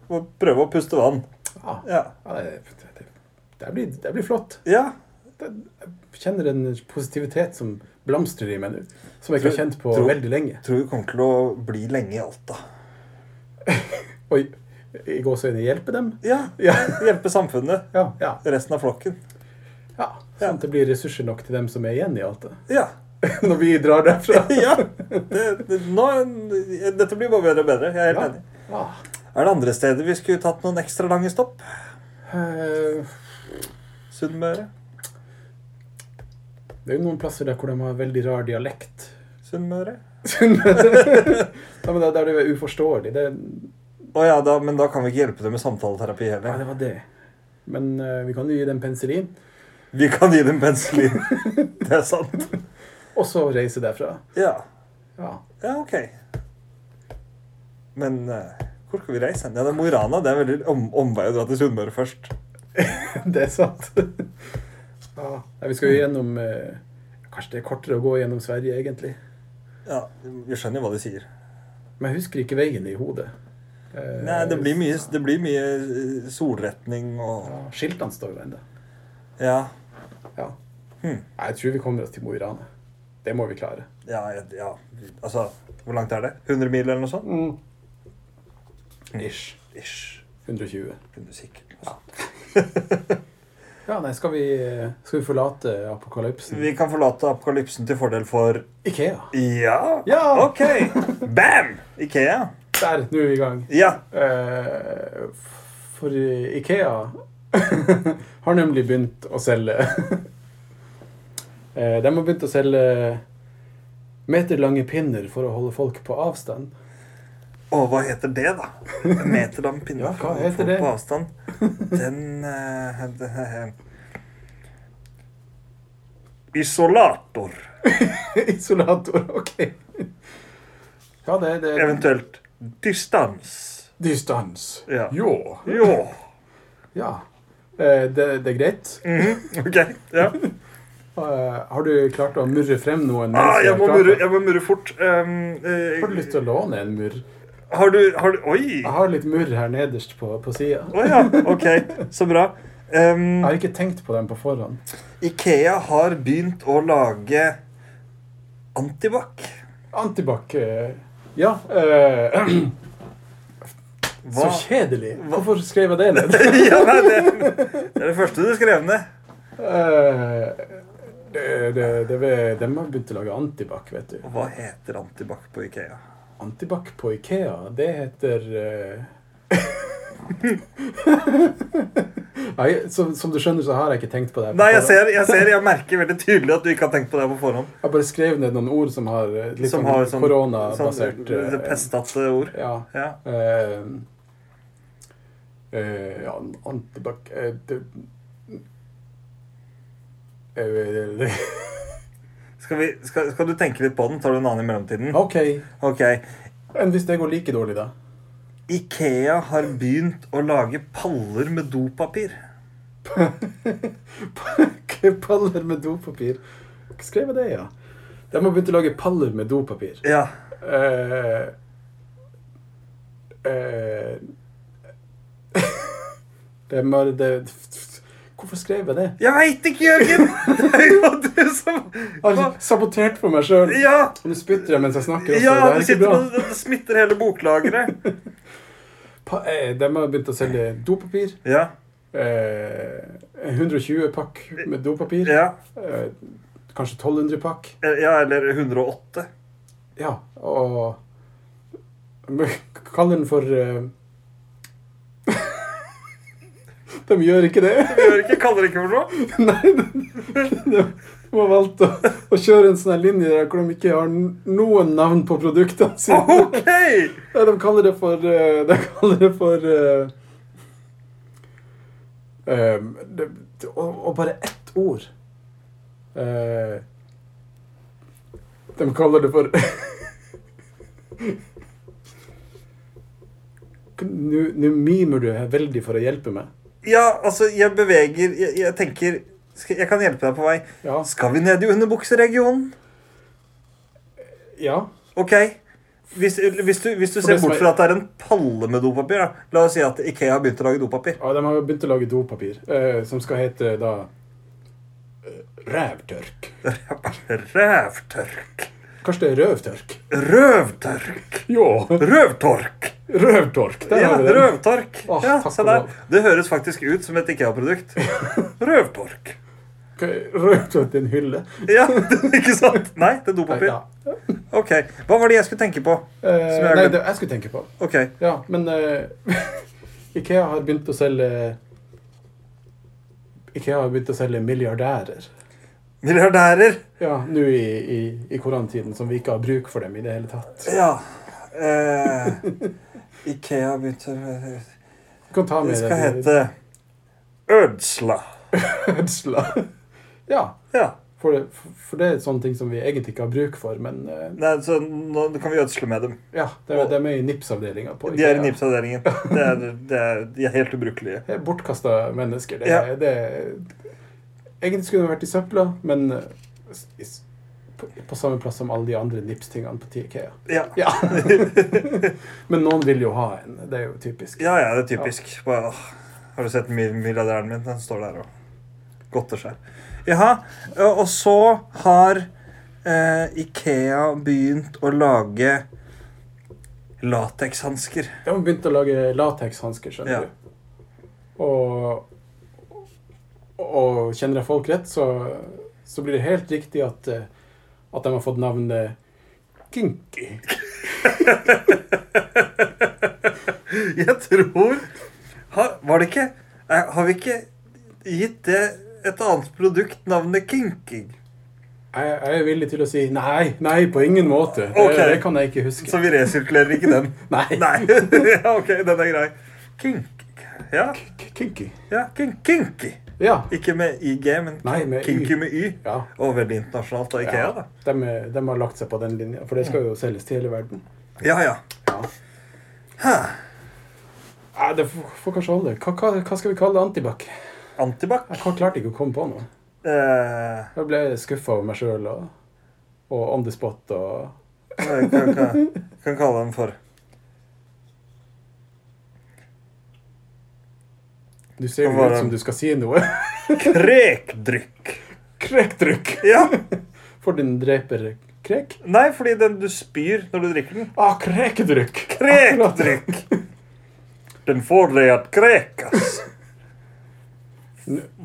[SPEAKER 1] å prøve å puste vann.
[SPEAKER 2] ja.
[SPEAKER 1] Ja.
[SPEAKER 2] ja det, det, det, blir, det blir flott.
[SPEAKER 1] ja.
[SPEAKER 2] Det, jeg kjenner en positivitet som blomstrer i meg nå, som jeg ikke har kjent på
[SPEAKER 1] Tror-
[SPEAKER 2] veldig lenge.
[SPEAKER 1] Tror vi kommer til å bli lenge i Alta.
[SPEAKER 2] Og i- i gåseøynene hjelpe dem.
[SPEAKER 1] Ja.
[SPEAKER 2] Ja.
[SPEAKER 1] Hjelpe samfunnet.
[SPEAKER 2] Ja, ja,
[SPEAKER 1] Resten av flokken.
[SPEAKER 2] ja. Sånn at det blir ressurser nok til dem som er igjen i Alta.
[SPEAKER 1] Ja.
[SPEAKER 2] Når vi drar derfra.
[SPEAKER 1] ja. Det, det, nå, dette blir bare bedre og bedre. Jeg er helt
[SPEAKER 2] Ja.
[SPEAKER 1] enig.
[SPEAKER 2] Ah.
[SPEAKER 1] Er det andre steder vi skulle tatt noen ekstra lange stopp?
[SPEAKER 2] Eh,
[SPEAKER 1] Sunnmøre?
[SPEAKER 2] Det er jo noen plasser der hvor de har veldig rar dialekt.
[SPEAKER 1] Sunnmøre?
[SPEAKER 2] Ja, men der, der det er uforståelig. Det,
[SPEAKER 1] Å ja, da, men da kan vi ikke hjelpe dem med samtaleterapi
[SPEAKER 2] ja,
[SPEAKER 1] heller.
[SPEAKER 2] det var det. Men eh, vi kan jo gi dem penicillin,
[SPEAKER 1] Vi kan gi dem penicillin. Det er sant.
[SPEAKER 2] og så reise derfra.
[SPEAKER 1] Ja.
[SPEAKER 2] Ja.
[SPEAKER 1] Ja, ok. Men eh, hvor skal vi reise? hen? Ja, det er Mo i Rana. Det er veldig om, omvei å dra til Sunnmøre først.
[SPEAKER 2] Det er sant. Ja. Nei, vi skal jo gjennom eh, Kanskje det er kortere å gå gjennom Sverige, egentlig.
[SPEAKER 1] Ja, Vi skjønner jo hva de sier.
[SPEAKER 2] Men jeg husker ikke veien i hodet. Eh,
[SPEAKER 1] Nei, Det blir mye, det blir mye eh, solretning og
[SPEAKER 2] ja, Skiltene står jo ennå.
[SPEAKER 1] Ja.
[SPEAKER 2] Ja.
[SPEAKER 1] Hmm.
[SPEAKER 2] Nei, Jeg tror vi kommer oss til Mo i Rana. Det må vi klare.
[SPEAKER 1] Ja, jeg- ja. Altså, hvor langt er det? 100 mil eller noe sånt? Hmm.
[SPEAKER 2] Ish.
[SPEAKER 1] Ish.
[SPEAKER 2] 120.
[SPEAKER 1] Kunne sikkert noe sånt.
[SPEAKER 2] Ja, nei, skal vi, eh, skal vi forlate apokalypsen?
[SPEAKER 1] Vi kan forlate apokalypsen til fordel for
[SPEAKER 2] Ikea.
[SPEAKER 1] Ja!
[SPEAKER 2] Ja!
[SPEAKER 1] OK! Bam! Ikea.
[SPEAKER 2] Der, nå er vi i gang.
[SPEAKER 1] Ja.
[SPEAKER 2] Eh, for Ikea har nemlig begynt å selge Eh, De har begynt å selge meterlange pinner for å holde folk på avstand.
[SPEAKER 1] Og hva heter det, da? En meterlang pinne
[SPEAKER 2] Ja, hva
[SPEAKER 1] for-
[SPEAKER 2] heter
[SPEAKER 1] for-
[SPEAKER 2] det?
[SPEAKER 1] på avstand. Den eh, det- eh, Isolator.
[SPEAKER 2] Isolator, OK. Hva det er det?
[SPEAKER 1] Eventuelt distans.
[SPEAKER 2] Distans.
[SPEAKER 1] Ja.
[SPEAKER 2] Jo.
[SPEAKER 1] Jo.
[SPEAKER 2] Ja. Eh, Det, det er greit.
[SPEAKER 1] Mhm, OK. Ja.
[SPEAKER 2] Eh, Har du klart å murre frem
[SPEAKER 1] Ah,
[SPEAKER 2] noen? mennesker?
[SPEAKER 1] jeg, må
[SPEAKER 2] Klart
[SPEAKER 1] murre,
[SPEAKER 2] det?
[SPEAKER 1] jeg må murre fort. Um, eh,
[SPEAKER 2] Har du lyst til å låne en murr?
[SPEAKER 1] har du, har du Oi!
[SPEAKER 2] Jeg har litt murr her nederst på, på sida.
[SPEAKER 1] Å ja. OK, så bra. Um,
[SPEAKER 2] Jeg har ikke tenkt på den på forhånd.
[SPEAKER 1] Ikea har begynt å lage antibac.
[SPEAKER 2] Antibac eh, Ja. eh, så
[SPEAKER 1] Hva?
[SPEAKER 2] kjedelig. Hvorfor skrev jeg det ned?
[SPEAKER 1] ja, nei, det, det er det første du skrev ned.
[SPEAKER 2] Eh, det, det, det, ved- de har begynt å lage antibac, vet du.
[SPEAKER 1] Og Hva heter antibac på Ikea?
[SPEAKER 2] Antibac på Ikea, det heter eh, Nei, som, som du skjønner, så har jeg ikke tenkt på det. her på
[SPEAKER 1] Nei, jeg
[SPEAKER 2] forhånd.
[SPEAKER 1] ser, jeg ser, jeg merker veldig tydelig at du ikke har tenkt på det på forhånd.
[SPEAKER 2] Jeg bare skrev ned noen ord som har eh, litt
[SPEAKER 1] Som
[SPEAKER 2] sånn
[SPEAKER 1] har sånn,
[SPEAKER 2] koronabasert
[SPEAKER 1] sånn det
[SPEAKER 2] eh,
[SPEAKER 1] pestete ord.
[SPEAKER 2] Ja.
[SPEAKER 1] Ja.
[SPEAKER 2] Eh, eh, ja, antibac eh, det, eh,
[SPEAKER 1] Skal, vi, skal, skal du tenke litt på den? Tar du en annen i mellomtiden?
[SPEAKER 2] OK.
[SPEAKER 1] Ok.
[SPEAKER 2] Enn hvis det går like dårlig, da?
[SPEAKER 1] Ikea har begynt å lage paller med dopapir.
[SPEAKER 2] paller med dopapir. Hva skrev jeg det, ja? De har begynt å lage paller med dopapir.
[SPEAKER 1] Ja.
[SPEAKER 2] Eh, eh, det må, det, hvorfor skrev jeg det?
[SPEAKER 1] Jeg veit ikke, Jørgen! Det er jo du som
[SPEAKER 2] Jeg har sabotert for meg sjøl.
[SPEAKER 1] Ja!
[SPEAKER 2] Nå spytter jeg mens jeg snakker. Også.
[SPEAKER 1] Ja, du
[SPEAKER 2] det er ikke
[SPEAKER 1] sitter
[SPEAKER 2] bra.
[SPEAKER 1] og det smitter hele boklageret.
[SPEAKER 2] Pa, eh, de har begynt å selge dopapir.
[SPEAKER 1] Ja.
[SPEAKER 2] Eh, 120 pakk med dopapir.
[SPEAKER 1] Ja.
[SPEAKER 2] Eh, kanskje 1200 pakk.
[SPEAKER 1] ja, eller 108.
[SPEAKER 2] Ja, og Men Kall den for eh, De gjør ikke det.
[SPEAKER 1] Vi gjør ikke, kaller ikke for noe.
[SPEAKER 2] Nei, de, de, de har valgt å, å kjøre en sånn her linje der hvor de ikke har n- noen navn på produktene sine.
[SPEAKER 1] Ah, Ok!
[SPEAKER 2] Nei, de kaller det for eh, De kaller det for eh, ehm, det, det, og, og bare ett ord. Eh, de kaller det for Nå nå mimer du her veldig for å hjelpe meg.
[SPEAKER 1] Ja, altså, jeg beveger Jeg, jeg tenker skal, Jeg kan hjelpe deg på vei.
[SPEAKER 2] Ja.
[SPEAKER 1] Skal vi ned i underbukseregionen?
[SPEAKER 2] ja.
[SPEAKER 1] Ok. Hvis, hvis, du, hvis du
[SPEAKER 2] For
[SPEAKER 1] ser
[SPEAKER 2] det som
[SPEAKER 1] bort
[SPEAKER 2] er-
[SPEAKER 1] fra at det er en palle med dopapir, da. La oss si at Ikea har begynt å lage dopapir.
[SPEAKER 2] ja de har begynt å lage dopapir, eh, som skal hete da eh, Rævtørk.
[SPEAKER 1] Rævtørk.
[SPEAKER 2] Kanskje det er røvtørk?
[SPEAKER 1] Røvtørk.
[SPEAKER 2] Jo,
[SPEAKER 1] Røvtork.
[SPEAKER 2] røvtork. Der
[SPEAKER 1] Ja,
[SPEAKER 2] har vi den.
[SPEAKER 1] røvtork.
[SPEAKER 2] Åh,
[SPEAKER 1] Ja,
[SPEAKER 2] takk
[SPEAKER 1] se
[SPEAKER 2] og
[SPEAKER 1] der.
[SPEAKER 2] lov.
[SPEAKER 1] Det høres faktisk ut som et Ikea-produkt. Røvtork.
[SPEAKER 2] Røvtøtt i en hylle.
[SPEAKER 1] Ja, ikke sant? Nei, det er dopapir.
[SPEAKER 2] Ja.
[SPEAKER 1] Ok, Hva var det jeg skulle tenke på?
[SPEAKER 2] Eh,
[SPEAKER 1] Som jeg har
[SPEAKER 2] nei,
[SPEAKER 1] glemt.
[SPEAKER 2] det jeg skulle tenke på.
[SPEAKER 1] Ok,
[SPEAKER 2] Ja, men eh, Ikea har begynt å selge Ikea har begynt å selge milliardærer.
[SPEAKER 1] Milliardærer.
[SPEAKER 2] Ja, nå i, i, i koronatiden, som vi ikke har bruk for dem i det hele tatt.
[SPEAKER 1] Ja. Eh, Ikea begynte Det
[SPEAKER 2] Du kan ta med
[SPEAKER 1] skal
[SPEAKER 2] deg
[SPEAKER 1] hete Ødsla.
[SPEAKER 2] hødsla. Ja,
[SPEAKER 1] Ja.
[SPEAKER 2] for det, for det er sånne ting som vi egentlig ikke har bruk for, men eh,
[SPEAKER 1] Nei, så nå kan vi ødsle med dem.
[SPEAKER 2] ja, de, de er i NIPS-avdelinga på
[SPEAKER 1] De er i
[SPEAKER 2] Ikea.
[SPEAKER 1] NIPS-avdelingen. Det er, det er, de er helt ubrukelige.
[SPEAKER 2] Det er bortkasta Eh, mennesker. Det,
[SPEAKER 1] Ja.
[SPEAKER 2] det, egentlig skulle det vært i søpla, men eh, s- i s- på, på samme plass som alle de andre Nips-tingene på Ikea.
[SPEAKER 1] Ja.
[SPEAKER 2] Ja. men noen vil jo ha en. Det er jo typisk.
[SPEAKER 1] Ja, ja, det er typisk. Bare, åh, har du sett mil- milliardæren min? Den står der og godter seg. Jaha. Og og så har eh, Ikea begynt å lage latekshansker.
[SPEAKER 2] De har begynt å lage latekshansker, skjønner
[SPEAKER 1] Ja.
[SPEAKER 2] du. Og, og kjenner jeg folk rett, så, så blir det helt riktig at, eh, at de har fått navnet Kinky.
[SPEAKER 1] Jeg tror har, Var det ikke eh, Har vi ikke gitt det et annet produkt navnet Kinking?
[SPEAKER 2] Jeg, jeg er villig til å si nei. Nei, på ingen måte. Det,
[SPEAKER 1] Ok.
[SPEAKER 2] det kan jeg ikke huske.
[SPEAKER 1] Så vi resirkulerer ikke den?
[SPEAKER 2] Nei.
[SPEAKER 1] Nei. ja, ok, den er grei. Kink... Ja,
[SPEAKER 2] K- Kinky.
[SPEAKER 1] ja kink, kinky.
[SPEAKER 2] Ja.
[SPEAKER 1] Ikke med IG, men
[SPEAKER 2] Nei, med Y.
[SPEAKER 1] kinky med Y.
[SPEAKER 2] ja.
[SPEAKER 1] Og veldig internasjonalt av IKEA,
[SPEAKER 2] ja.
[SPEAKER 1] da.
[SPEAKER 2] De, er- de har lagt seg på den linja, for det skal jo selges til hele verden.
[SPEAKER 1] Ja, ja.
[SPEAKER 2] Ja. Nei, det får, får kanskje holde. Hva, hva, hva skal vi kalle det? Antibac?
[SPEAKER 1] Antibac.
[SPEAKER 2] Jeg kan- klarte ikke å komme på noe.
[SPEAKER 1] Eh,
[SPEAKER 2] Jeg ble skuffa over meg sjøl og, og on the spot og
[SPEAKER 1] hva kan, kan, kan kalle den for
[SPEAKER 2] Du ser jo
[SPEAKER 1] Hva var
[SPEAKER 2] ut
[SPEAKER 1] det?
[SPEAKER 2] som du skal si noe.
[SPEAKER 1] krekdrykk.
[SPEAKER 2] Krektrykk!
[SPEAKER 1] Ja.
[SPEAKER 2] For din dreper krek.
[SPEAKER 1] Nei, fordi den du spyr når du drikker den.
[SPEAKER 2] Ah, krekedrykk! Akkurat.
[SPEAKER 1] Krekdrykk. Den får deg at krekas.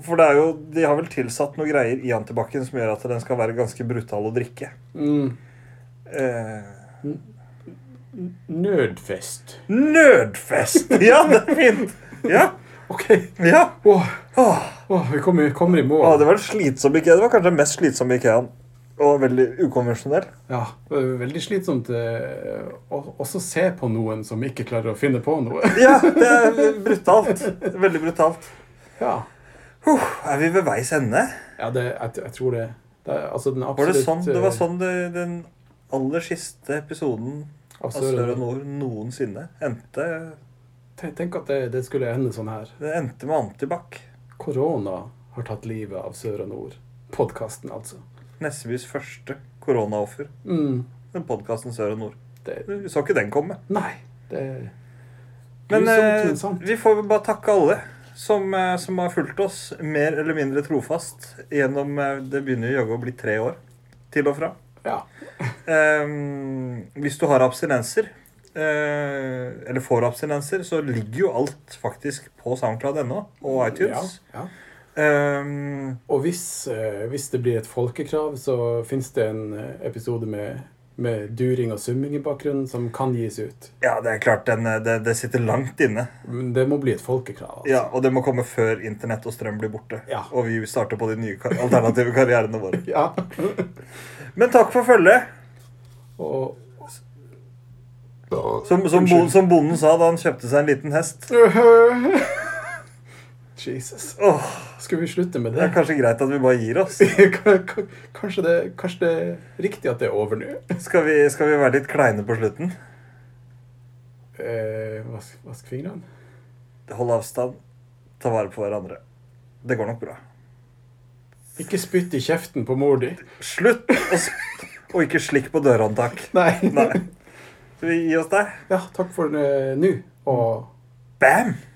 [SPEAKER 1] For det er jo, de har vel tilsatt noe greier i antibac-en som gjør at den skal være ganske brutal å drikke.
[SPEAKER 2] Mm.
[SPEAKER 1] Eh,
[SPEAKER 2] Nødfest.
[SPEAKER 1] nødfest! Ja, det er fint! Ja.
[SPEAKER 2] OK.
[SPEAKER 1] ja.
[SPEAKER 2] Åh,
[SPEAKER 1] Åh.
[SPEAKER 2] åh, vi kommer, kommer i mål.
[SPEAKER 1] Åh, det var en slitsom IKEA. Det var kanskje den mest slitsomme IKEA-en. Og veldig ukonvensjonell.
[SPEAKER 2] Ja, det er veldig slitsomt eh, å også se på noen som ikke klarer å finne på noe.
[SPEAKER 1] Ja, det er brutalt. Veldig brutalt.
[SPEAKER 2] Ja,
[SPEAKER 1] Huh, er vi ved veis ende?
[SPEAKER 2] ja det, jeg, jeg tror det. det er, altså, den
[SPEAKER 1] Var
[SPEAKER 2] absolutt,
[SPEAKER 1] det sånn, det var
[SPEAKER 2] eh,
[SPEAKER 1] sånn det, den aller siste episoden
[SPEAKER 2] eh, av
[SPEAKER 1] av Sør og
[SPEAKER 2] Søren.
[SPEAKER 1] Nord noensinne endte
[SPEAKER 2] Te- Tenk at det, det skulle ende sånn her.
[SPEAKER 1] Det endte med antibac.
[SPEAKER 2] Korona har tatt livet av Sør og Nord. Podkasten, altså.
[SPEAKER 1] Nessebys første koronaoffer.
[SPEAKER 2] Mm,
[SPEAKER 1] Den podkasten Sør og Nord.
[SPEAKER 2] det,
[SPEAKER 1] Du så ikke den komme.
[SPEAKER 2] nei, det
[SPEAKER 1] Men
[SPEAKER 2] Grusomt, men
[SPEAKER 1] eh,
[SPEAKER 2] sant.
[SPEAKER 1] vi får vel bare takke alle som, eh, som har fulgt oss mer eller mindre trofast gjennom eh, Det begynner jo jaggu å bli tre år til og fra.
[SPEAKER 2] Ja.
[SPEAKER 1] Ehm, hvis du har abstinenser, eh, eller får abstinenser, så ligger jo alt faktisk på SoundCloud.no og iTunes.
[SPEAKER 2] Ja, ja.
[SPEAKER 1] Ehm,
[SPEAKER 2] Og hvis, eh, hvis det blir et folkekrav, så fins det en eh, episode med, med during og summing i bakgrunnen som kan gis ut.
[SPEAKER 1] ja, det er klart, den, eh, det, det sitter langt inne.
[SPEAKER 2] Men det må bli et folkekrav. altså.
[SPEAKER 1] Ja, og det må komme før internett og strøm blir borte.
[SPEAKER 2] Ja.
[SPEAKER 1] Og vi starter på de nye kar alternative karrierene våre.
[SPEAKER 2] Ja.
[SPEAKER 1] Men takk for følget.
[SPEAKER 2] Og
[SPEAKER 1] Som, som, bo, som bonden sa da han kjøpte seg en liten hest.
[SPEAKER 2] Jesus.
[SPEAKER 1] Åh,
[SPEAKER 2] Skal vi slutte med
[SPEAKER 1] det er
[SPEAKER 2] det?
[SPEAKER 1] kanskje greit at vi bare gir oss.
[SPEAKER 2] K- k- Kanskje det, kanskje det er riktig at det er over nå?
[SPEAKER 1] Skal vi, skal vi være litt kleine på slutten?
[SPEAKER 2] Eh, vask, vask fingrene.
[SPEAKER 1] Hold avstand. Ta vare på hverandre. Det går nok bra.
[SPEAKER 2] Ikke spytt i kjeften på mor di.
[SPEAKER 1] Slutt å sp Og ikke slikk på dørhåndtak.
[SPEAKER 2] Nei.
[SPEAKER 1] Nei. Skal vi gi oss der?
[SPEAKER 2] Ja, takk for eh, nå. Og
[SPEAKER 1] Bam!